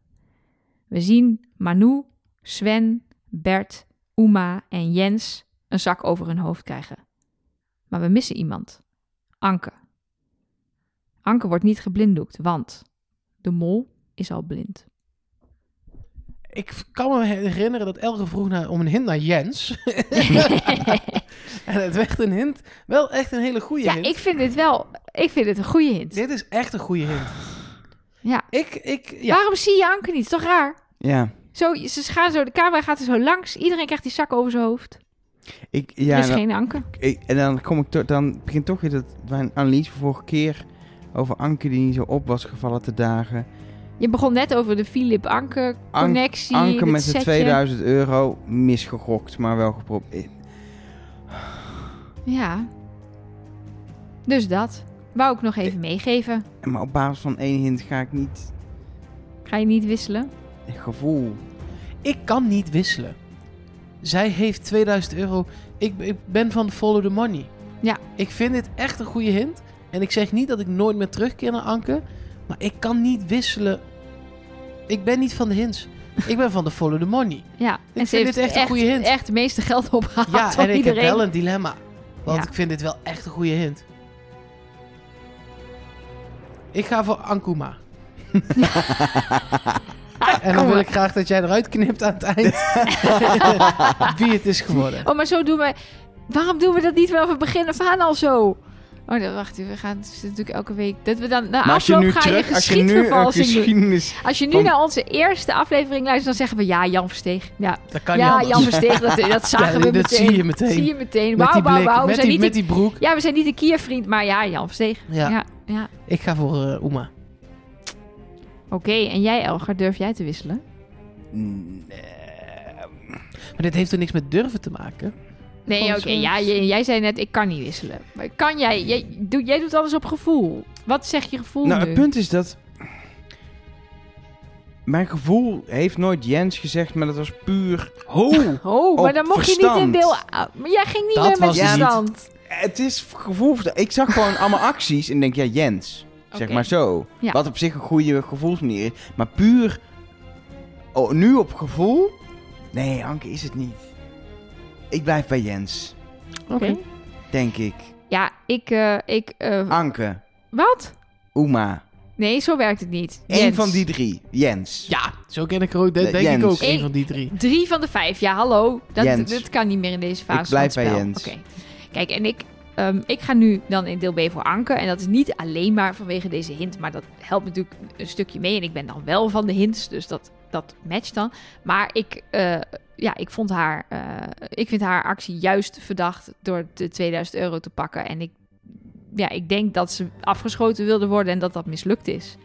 [SPEAKER 2] We zien Manu, Sven, Bert, Uma en Jens... een zak over hun hoofd krijgen. Maar we missen iemand. Anke. Anke wordt niet geblinddoekt, want... de mol is al blind.
[SPEAKER 3] Ik kan me herinneren dat Elge vroeg naar, om een hint naar
[SPEAKER 2] (laughs)
[SPEAKER 3] Jens. en het werd een hint. Wel echt een hele goede
[SPEAKER 2] ja,
[SPEAKER 3] hint.
[SPEAKER 2] ik vind dit wel. Ik vind het een goede hint.
[SPEAKER 3] Dit is echt een goede hint.
[SPEAKER 2] Ja.
[SPEAKER 3] Ik, ik, ja.
[SPEAKER 2] Waarom zie je Anke niet? Is toch raar?
[SPEAKER 1] Ja,
[SPEAKER 2] Zo, ze gaan zo, de camera gaat er zo langs. Iedereen krijgt die zak over zijn hoofd.
[SPEAKER 1] ik,
[SPEAKER 2] er is
[SPEAKER 1] ja, nou, dan-
[SPEAKER 2] geen Anke.
[SPEAKER 1] Ik- eh, en dan, kom ik to- dan begint toch weer dat mijn analyse van vorige keer over Anke die niet zo op was gevallen te dagen.
[SPEAKER 2] Je begon net over de Philip Anke connectie.
[SPEAKER 1] Anke
[SPEAKER 2] dit
[SPEAKER 1] met de
[SPEAKER 2] setje.
[SPEAKER 1] 2000 euro misgegokt, maar wel geprobeerd.
[SPEAKER 2] Ja. Dus dat. Wou ik nog even meegeven.
[SPEAKER 1] Eh, Maar op basis van één hint ga ik niet
[SPEAKER 2] Ga je niet wisselen?
[SPEAKER 1] gevoel.
[SPEAKER 3] ik kan niet wisselen. Zij heeft 2000 euro. Ik, ik ben van follow the money.
[SPEAKER 2] Ja.
[SPEAKER 3] Ik vind dit echt een goede hint. En ik zeg niet dat ik nooit meer terugkeer naar Anke. Maar ik kan niet wisselen. Ik ben niet van de hints. Ik ben van de follow the money.
[SPEAKER 2] Ja.
[SPEAKER 3] vind dit echt een goede hint.
[SPEAKER 2] Echt het meeste geld opgehaald
[SPEAKER 3] Ja,
[SPEAKER 2] van
[SPEAKER 3] en ik heb
[SPEAKER 2] iedereen.
[SPEAKER 3] wel een dilemma. Want
[SPEAKER 2] Ja.
[SPEAKER 3] ik vind dit wel echt een goede hint. Ik ga voor Ankuma. (laughs) en dan wil ik graag dat jij eruit knipt aan het
[SPEAKER 2] (laughs)
[SPEAKER 3] eind. Wie het is geworden.
[SPEAKER 2] Oh, maar zo doen we. Waarom doen we dat niet vanaf het begin af aan al zo? Oh, nee, wacht, we gaan het is natuurlijk elke week. Dat we dan na
[SPEAKER 1] maar als je
[SPEAKER 2] afloop
[SPEAKER 1] nu
[SPEAKER 2] ga
[SPEAKER 1] terug,
[SPEAKER 2] je
[SPEAKER 1] als je nu een
[SPEAKER 2] geschiedvervalsing doen.
[SPEAKER 1] geschiedenis...
[SPEAKER 2] Als je nu
[SPEAKER 1] van-
[SPEAKER 2] naar onze eerste aflevering luistert, dan zeggen we ja, Jan Versteeg. Ja,
[SPEAKER 3] Dat kan
[SPEAKER 2] ja
[SPEAKER 3] niet
[SPEAKER 2] Jan
[SPEAKER 3] anders.
[SPEAKER 2] Versteeg,
[SPEAKER 3] (laughs)
[SPEAKER 2] dat, dat zagen
[SPEAKER 3] Ja,
[SPEAKER 2] we
[SPEAKER 3] dat
[SPEAKER 2] meteen.
[SPEAKER 3] zie je meteen.
[SPEAKER 2] Zie je meteen.
[SPEAKER 3] Met
[SPEAKER 2] Wauw,
[SPEAKER 3] die
[SPEAKER 2] wauw,
[SPEAKER 3] blik,
[SPEAKER 2] wauw. We
[SPEAKER 3] met,
[SPEAKER 2] zijn
[SPEAKER 3] die,
[SPEAKER 2] niet
[SPEAKER 3] met
[SPEAKER 2] de-
[SPEAKER 3] die broek.
[SPEAKER 2] Ja, we zijn niet de Kiervriend, maar ja, Jan Versteeg.
[SPEAKER 3] Ja.
[SPEAKER 2] ja, ja.
[SPEAKER 3] Ik ga voor eh, Oema.
[SPEAKER 2] Oké, en jij Elger, durf jij te wisselen?
[SPEAKER 3] Maar dit heeft er niks met durven te maken.
[SPEAKER 2] Nee,
[SPEAKER 3] Gewoon
[SPEAKER 2] oké.
[SPEAKER 3] zo-
[SPEAKER 2] Ja, jij, jij zei net, ik kan niet wisselen. Maar kan jij? Jij, doe, jij
[SPEAKER 3] Nou,
[SPEAKER 2] doet alles op gevoel. Wat zegt je gevoel
[SPEAKER 1] Nou,
[SPEAKER 2] nu?
[SPEAKER 1] het punt is dat... mijn gevoel heeft nooit Jens gezegd, maar dat was puur... (laughs) Oh,
[SPEAKER 2] Oh, maar
[SPEAKER 1] Op
[SPEAKER 2] dan mocht je niet
[SPEAKER 1] verstand.
[SPEAKER 2] in deel... A. Maar jij ging niet
[SPEAKER 3] Dat
[SPEAKER 2] meer met
[SPEAKER 3] was
[SPEAKER 1] het niet.
[SPEAKER 2] verstand.
[SPEAKER 1] het is gevoel... Ik zag gewoon
[SPEAKER 2] (laughs)
[SPEAKER 1] allemaal acties en denk, ja, Jens. Zeg
[SPEAKER 2] Oké.
[SPEAKER 1] maar zo.
[SPEAKER 2] Ja.
[SPEAKER 1] Wat op zich een goede gevoelsmanier is. Maar puur... Oh, nu op gevoel? Nee, Anke is het niet. Ik blijf bij Jens,
[SPEAKER 2] Oké.
[SPEAKER 1] denk ik.
[SPEAKER 2] Ja, ik... eh, ik eh,
[SPEAKER 1] Anke,
[SPEAKER 2] Wat?
[SPEAKER 1] Uma.
[SPEAKER 2] Nee, zo werkt het niet.
[SPEAKER 1] Eén
[SPEAKER 2] Jens.
[SPEAKER 1] van die drie. Jens.
[SPEAKER 3] Ja, zo ken ik er ook. Dat
[SPEAKER 1] Nee,
[SPEAKER 3] denk
[SPEAKER 1] Jens.
[SPEAKER 3] ik ook. Een
[SPEAKER 2] Ik-
[SPEAKER 3] van die drie.
[SPEAKER 2] Drie van de vijf, ja, hallo. Dat,
[SPEAKER 1] Jens.
[SPEAKER 2] dat kan niet meer in deze fase.
[SPEAKER 1] Ik blijf
[SPEAKER 2] van het
[SPEAKER 1] bij
[SPEAKER 2] spel.
[SPEAKER 1] Jens.
[SPEAKER 2] Oké. Kijk, en ik, ehm, ik ga nu dan in deel B voor Anke. En dat is niet alleen maar vanwege deze hint. Maar dat helpt natuurlijk een stukje mee. En ik ben dan wel van de hints, dus dat, dat matcht dan. Maar ik, eh, ja, ik, vond haar, eh, ik vind haar actie juist verdacht door de 2000 euro te pakken. En ik, ja, ik denk dat ze afgeschoten wilde worden en dat dat mislukt is.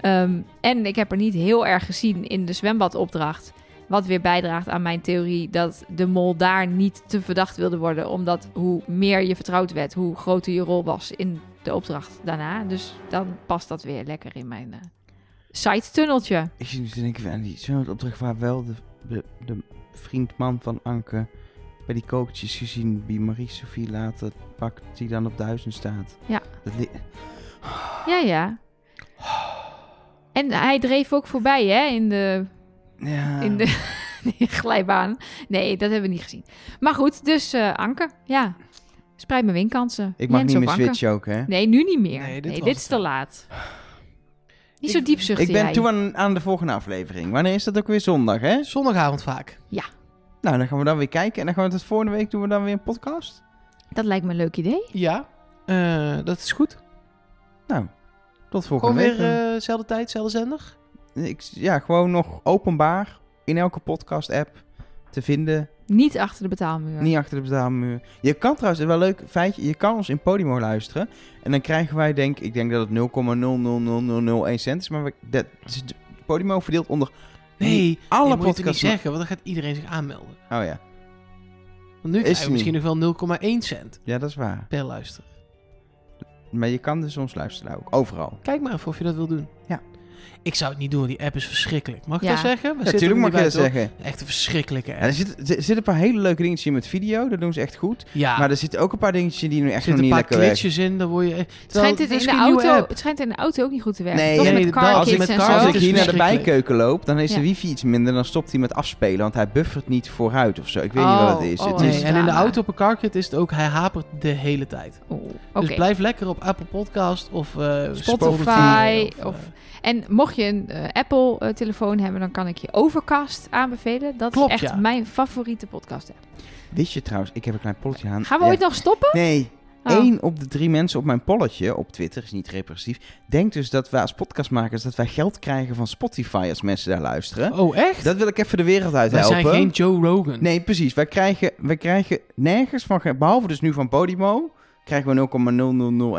[SPEAKER 2] Ehm, en ik heb haar niet heel erg gezien in de zwembadopdracht. Wat weer bijdraagt aan mijn theorie dat de mol daar niet te verdacht wilde worden. Omdat hoe meer je vertrouwd werd, hoe groter je rol was in de opdracht daarna. Dus dan past dat weer lekker in mijn eh side-tunneltje.
[SPEAKER 1] Ik zit nu te denken aan die zo'n opdracht waar wel de, de, de vriendman van Anke bij die kookjes gezien die Marie-Sophie later pakt, die dan op duizend staat.
[SPEAKER 2] Ja.
[SPEAKER 1] Dat li-
[SPEAKER 2] Ja, ja. En hij dreef ook voorbij, hè, in de,
[SPEAKER 1] ja.
[SPEAKER 2] in de (laughs) glijbaan. Nee, dat hebben we niet gezien. Maar goed, dus eh Anke, ja. Spreid mijn winkansen.
[SPEAKER 1] Ik mag
[SPEAKER 2] Jens
[SPEAKER 1] niet
[SPEAKER 2] op
[SPEAKER 1] meer
[SPEAKER 2] Anke.
[SPEAKER 1] switchen ook, hè?
[SPEAKER 2] Nee, nu niet meer. Nee,
[SPEAKER 3] Nee,
[SPEAKER 2] dit,
[SPEAKER 3] dit was
[SPEAKER 2] is
[SPEAKER 3] het
[SPEAKER 2] te
[SPEAKER 3] al.
[SPEAKER 2] laat. Niet
[SPEAKER 3] Ik-
[SPEAKER 2] zo diep zuchten
[SPEAKER 1] Ik ben
[SPEAKER 2] jij.
[SPEAKER 1] toe aan, aan de volgende aflevering. Wanneer is dat ook weer zondag, hè?
[SPEAKER 3] Zondagavond vaak.
[SPEAKER 1] Nou, dan gaan we dan weer kijken. En dan gaan we het volgende week doen we dan weer een podcast.
[SPEAKER 2] Dat lijkt me een leuk idee.
[SPEAKER 3] Ja, eh, dat is goed.
[SPEAKER 1] Tot volgende
[SPEAKER 3] Gewoon weer
[SPEAKER 1] week.
[SPEAKER 3] eh, dezelfde tijd, dezelfde zender.
[SPEAKER 1] Ik, ja, gewoon nog openbaar in elke podcast-app te vinden.
[SPEAKER 2] Niet achter de betaalmuur.
[SPEAKER 1] Niet achter de betaalmuur. Je kan trouwens, wel leuk feitje, je kan ons in Podimo luisteren. En dan krijgen wij denk, ik denk dat het 0,000001 cent is. Maar we, dat, Podimo verdeelt onder
[SPEAKER 3] Nee,
[SPEAKER 1] alle
[SPEAKER 3] Alle moet je het niet
[SPEAKER 1] podcasts.
[SPEAKER 3] zeggen, want dan gaat iedereen zich aanmelden.
[SPEAKER 1] Oh ja,
[SPEAKER 3] Want nu
[SPEAKER 1] er
[SPEAKER 3] krijgen
[SPEAKER 1] niet.
[SPEAKER 3] we misschien nog wel 0,1 cent
[SPEAKER 1] ja, dat is waar.
[SPEAKER 3] per luister.
[SPEAKER 1] Maar je kan dus ons luisteren ook, overal.
[SPEAKER 3] Kijk maar even of je dat wil doen.
[SPEAKER 1] Ja.
[SPEAKER 3] Ik zou het niet doen, die app is verschrikkelijk. Mag ik
[SPEAKER 2] Ja.
[SPEAKER 3] dat zeggen? We
[SPEAKER 1] Ja,
[SPEAKER 3] zitten er
[SPEAKER 1] Natuurlijk
[SPEAKER 3] niet
[SPEAKER 1] mag je
[SPEAKER 3] bij,
[SPEAKER 1] dat
[SPEAKER 3] toch?
[SPEAKER 1] zeggen.
[SPEAKER 3] Echt een verschrikkelijke
[SPEAKER 1] Ja, er
[SPEAKER 3] app.
[SPEAKER 1] zitten er zitten een paar hele leuke dingetjes in met video, dat doen ze echt goed.
[SPEAKER 3] Ja,
[SPEAKER 1] Maar er zitten ook een paar dingetjes in die nu
[SPEAKER 3] er
[SPEAKER 1] echt nog
[SPEAKER 3] zitten een
[SPEAKER 1] niet
[SPEAKER 3] paar
[SPEAKER 1] lekker werken.
[SPEAKER 3] glitches in, dan word je...
[SPEAKER 2] het, schijnt het, in de auto, het schijnt in de auto ook niet goed te werken.
[SPEAKER 1] Nee,
[SPEAKER 2] Toch
[SPEAKER 1] nee,
[SPEAKER 2] met
[SPEAKER 3] dat-
[SPEAKER 1] als
[SPEAKER 2] car
[SPEAKER 1] ik-
[SPEAKER 2] Oh, kids en
[SPEAKER 3] met
[SPEAKER 2] zo.
[SPEAKER 3] car
[SPEAKER 1] Als
[SPEAKER 3] dat
[SPEAKER 1] ik
[SPEAKER 3] is
[SPEAKER 1] hier naar de
[SPEAKER 3] verschrikkelijk.
[SPEAKER 1] bijkeuken loop, dan is de
[SPEAKER 2] Ja.
[SPEAKER 1] wifi iets minder. Dan stopt hij met afspelen, want hij buffert niet vooruit of zo. Ik weet niet
[SPEAKER 2] Oh,
[SPEAKER 1] wat het is.
[SPEAKER 2] oh,
[SPEAKER 1] het
[SPEAKER 2] oh.
[SPEAKER 1] is
[SPEAKER 3] Nee, en in de
[SPEAKER 2] drama.
[SPEAKER 3] auto op een carkit is het ook, hij hapert de hele tijd.
[SPEAKER 2] Oh, Oké.
[SPEAKER 3] Dus blijf lekker op Apple Podcast of eh,
[SPEAKER 2] Spotify
[SPEAKER 3] eh,
[SPEAKER 2] of- En mocht je een eh, Apple-telefoon hebben, dan kan ik je Overcast aanbevelen. Dat
[SPEAKER 3] Klopt,
[SPEAKER 2] is echt
[SPEAKER 3] ja.
[SPEAKER 2] mijn favoriete podcast app.
[SPEAKER 1] Wist je trouwens, ik heb een klein polletje aan.
[SPEAKER 2] Gaan we
[SPEAKER 1] Ja.
[SPEAKER 2] ooit nog stoppen?
[SPEAKER 1] Nee.
[SPEAKER 2] Oh.
[SPEAKER 1] Eén op de drie mensen op mijn polletje op Twitter, is niet repressief, denkt dus dat wij als podcastmakers dat wij geld krijgen van Spotify als mensen daar luisteren.
[SPEAKER 3] Oh, echt?
[SPEAKER 1] Dat wil ik even de wereld uit
[SPEAKER 3] Wij
[SPEAKER 1] helpen.
[SPEAKER 3] zijn geen Joe Rogan.
[SPEAKER 1] Nee, precies. Wij krijgen, wij krijgen nergens van, ge- behalve dus nu van Podimo, krijgen we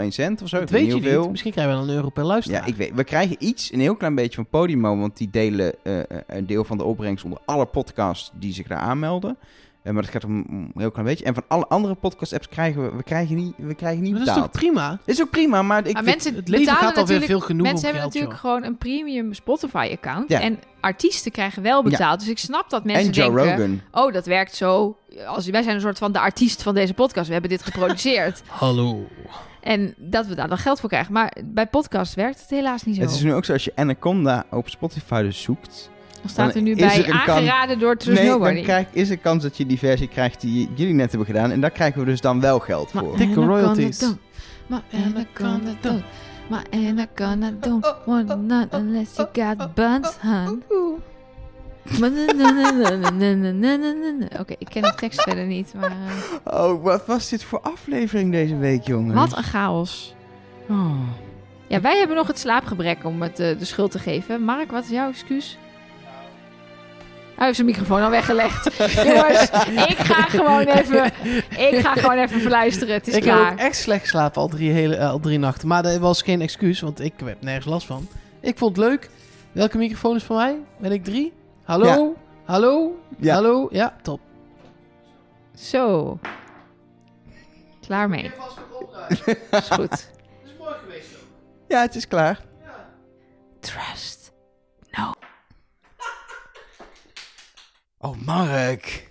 [SPEAKER 1] 0,0001 cent of zo.
[SPEAKER 3] dat
[SPEAKER 1] ik
[SPEAKER 3] weet je
[SPEAKER 1] niet
[SPEAKER 3] niet.
[SPEAKER 1] hoeveel.
[SPEAKER 3] Misschien krijgen we dan een euro per luisteraar.
[SPEAKER 1] Ja, ik weet. We krijgen iets, een heel klein beetje van Podimo, want die delen eh, een deel van de opbrengst onder alle podcasts die zich daar aanmelden. Eh, maar dat gaat om om een heel klein beetje. En van alle andere podcast-apps krijgen we, we krijgen niet, we krijgen niet
[SPEAKER 3] Maar dat is toch
[SPEAKER 1] betaald.
[SPEAKER 3] prima?
[SPEAKER 1] Is ook prima, maar ik
[SPEAKER 2] Maar
[SPEAKER 1] vind-
[SPEAKER 2] mensen
[SPEAKER 3] het leven
[SPEAKER 2] betalen
[SPEAKER 3] gaat alweer
[SPEAKER 2] natuurlijk-
[SPEAKER 3] veel genoeg om
[SPEAKER 2] Mensen hebben
[SPEAKER 3] geld,
[SPEAKER 2] natuurlijk
[SPEAKER 3] joh.
[SPEAKER 2] gewoon een premium Spotify-account.
[SPEAKER 1] Ja.
[SPEAKER 2] En artiesten krijgen wel betaald. Dus ik snap dat mensen
[SPEAKER 1] en Joe
[SPEAKER 2] denken...
[SPEAKER 1] Rogan.
[SPEAKER 2] Oh, dat werkt zo. Als, wij zijn een soort van de artiest van deze podcast. We hebben dit
[SPEAKER 3] (laughs)
[SPEAKER 2] geproduceerd.
[SPEAKER 3] Hallo.
[SPEAKER 2] en dat we daar dan geld voor krijgen. Maar bij podcast werkt het helaas niet zo.
[SPEAKER 1] Het is nu ook zo als je Anaconda op Spotify dus zoekt.
[SPEAKER 2] Dan staat er nu
[SPEAKER 1] dan is
[SPEAKER 2] bij
[SPEAKER 1] er een kan-
[SPEAKER 2] aangeraden door True
[SPEAKER 1] nee, dan
[SPEAKER 2] Snowboarding.
[SPEAKER 1] krijg, is er kans dat je die versie krijgt die jullie net hebben gedaan. En daar krijgen we dus dan wel geld
[SPEAKER 2] Maar
[SPEAKER 1] voor.
[SPEAKER 3] dikke
[SPEAKER 2] Anaconda
[SPEAKER 3] royalties.
[SPEAKER 2] don't. Maar Anaconda don't. Maar Anaconda
[SPEAKER 1] Oh,
[SPEAKER 2] don't want none unless you got buns, hun.
[SPEAKER 1] oh.
[SPEAKER 2] Maar na, na, na, na, na, na, na, na, na, na, na. Oké, ik ken de tekst verder niet, maar... eh,
[SPEAKER 1] Oh, wat was dit voor aflevering deze week, jongen?
[SPEAKER 2] Wat een chaos.
[SPEAKER 1] Oh.
[SPEAKER 2] Ja, wij hebben nog het slaapgebrek om het eh, de schuld te geven. Mark, wat is jouw excuus? Hij heeft zijn microfoon al
[SPEAKER 3] (laughs)
[SPEAKER 2] weggelegd. Jongens, ik ga gewoon even, ik ga gewoon even verluisteren. Het is
[SPEAKER 3] ik heb
[SPEAKER 2] klaar.
[SPEAKER 3] ook echt slecht geslapen al drie, hele, eh, al drie nachten. Maar dat was geen excuus, want ik heb nergens last van. Ik vond het leuk. Welke microfoon is van mij? Ben ik drie? Hallo?
[SPEAKER 1] Ja.
[SPEAKER 3] Hallo?
[SPEAKER 1] Ja.
[SPEAKER 3] Hallo? Ja, top.
[SPEAKER 2] Zo. Klaar mee.
[SPEAKER 3] eh,
[SPEAKER 2] Is goed.
[SPEAKER 1] Ja, het is klaar.
[SPEAKER 2] Trust.
[SPEAKER 3] Oh, Mark.